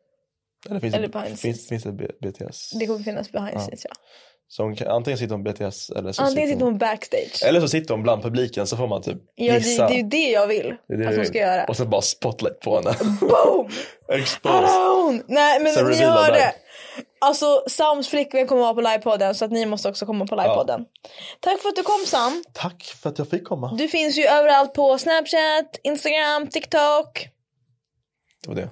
C: Eller finns
B: Eller
C: det,
B: behind the
C: finns, finns det B- BTS?
B: Det kommer finnas behind the
C: Ja.
B: scenes ja.
C: Så hon kan, antingen sitter hon BTS eller så
B: Antingen sitter hon backstage.
C: Eller så sitter hon bland publiken så får man typ
B: Ja, det, det
C: gissa.
B: är ju det jag vill
C: Det är det
B: att hon
C: du vill.
B: ska göra.
C: Och sen bara spotlight på henne.
B: Boom! Här
C: Exposed.
B: är hon! Nej men
C: Sen
B: ni
C: revealar
B: hörde.
C: där.
B: Alltså Sams flickvän kommer vara på livepodden så att ni måste också komma på livepodden. Tack för att du kom Sam.
C: Tack för att jag fick komma.
B: Du finns ju överallt på Snapchat, Instagram, TikTok.
C: Det var det.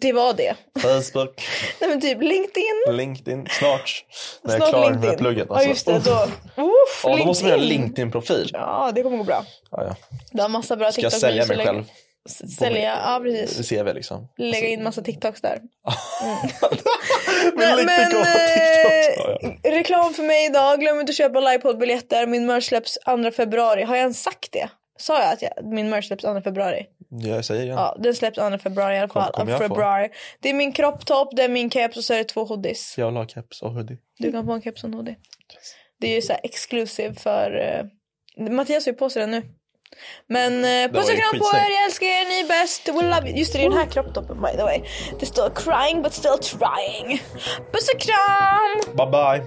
B: Det var det.
C: Facebook,
B: Nej men typ LinkedIn.
C: LinkedIn, snart. När jag är
B: Snart
C: klar
B: LinkedIn.
C: med plugget. alltså.
B: Ja just det.
C: Uff.
B: Då. Uff,
C: Ja, då måste man göra en
B: LinkedIn.
C: LinkedIn-profil. Ja,
B: Ja det kommer gå bra.
C: ja.
B: Du har massa bra
C: Ska jag
B: TikTok.
C: sälja mig själv?
B: Sälja, ja precis.
C: CV liksom.
B: Lägga in massa TikToks där.
C: Men
B: Nej,
C: LinkedIn kommer på TikTok. Ja,
B: eh,
C: ja.
B: reklam för mig idag. Glöm inte att köpa livepoddbiljetter. Min merch släpps 2 februari. Har jag ens sagt det? Sa jag att jag, min merch släpps 2 februari?
C: Jag säger igen.
B: Ja, den släpps 2 februari i alla
C: Kom-
B: fall.
C: kommer jag få?
B: februari. Det är min kropptopp, det är min keps och så är det två hoodies.
C: Jag vill ha keps och hoodie.
B: Du kan få en keps och en hoodie. Det är ju så här exclusive för... eh, Mattias har ju på sig den nu. Men eh, puss
C: var
B: och
C: ju
B: kram på
C: skitsnygg.
B: er, jag älskar er, ni är bäst. We love you. Just det, det är den här kropptoppen by the way. Det står crying but still trying. Puss och kram!
C: Bye bye.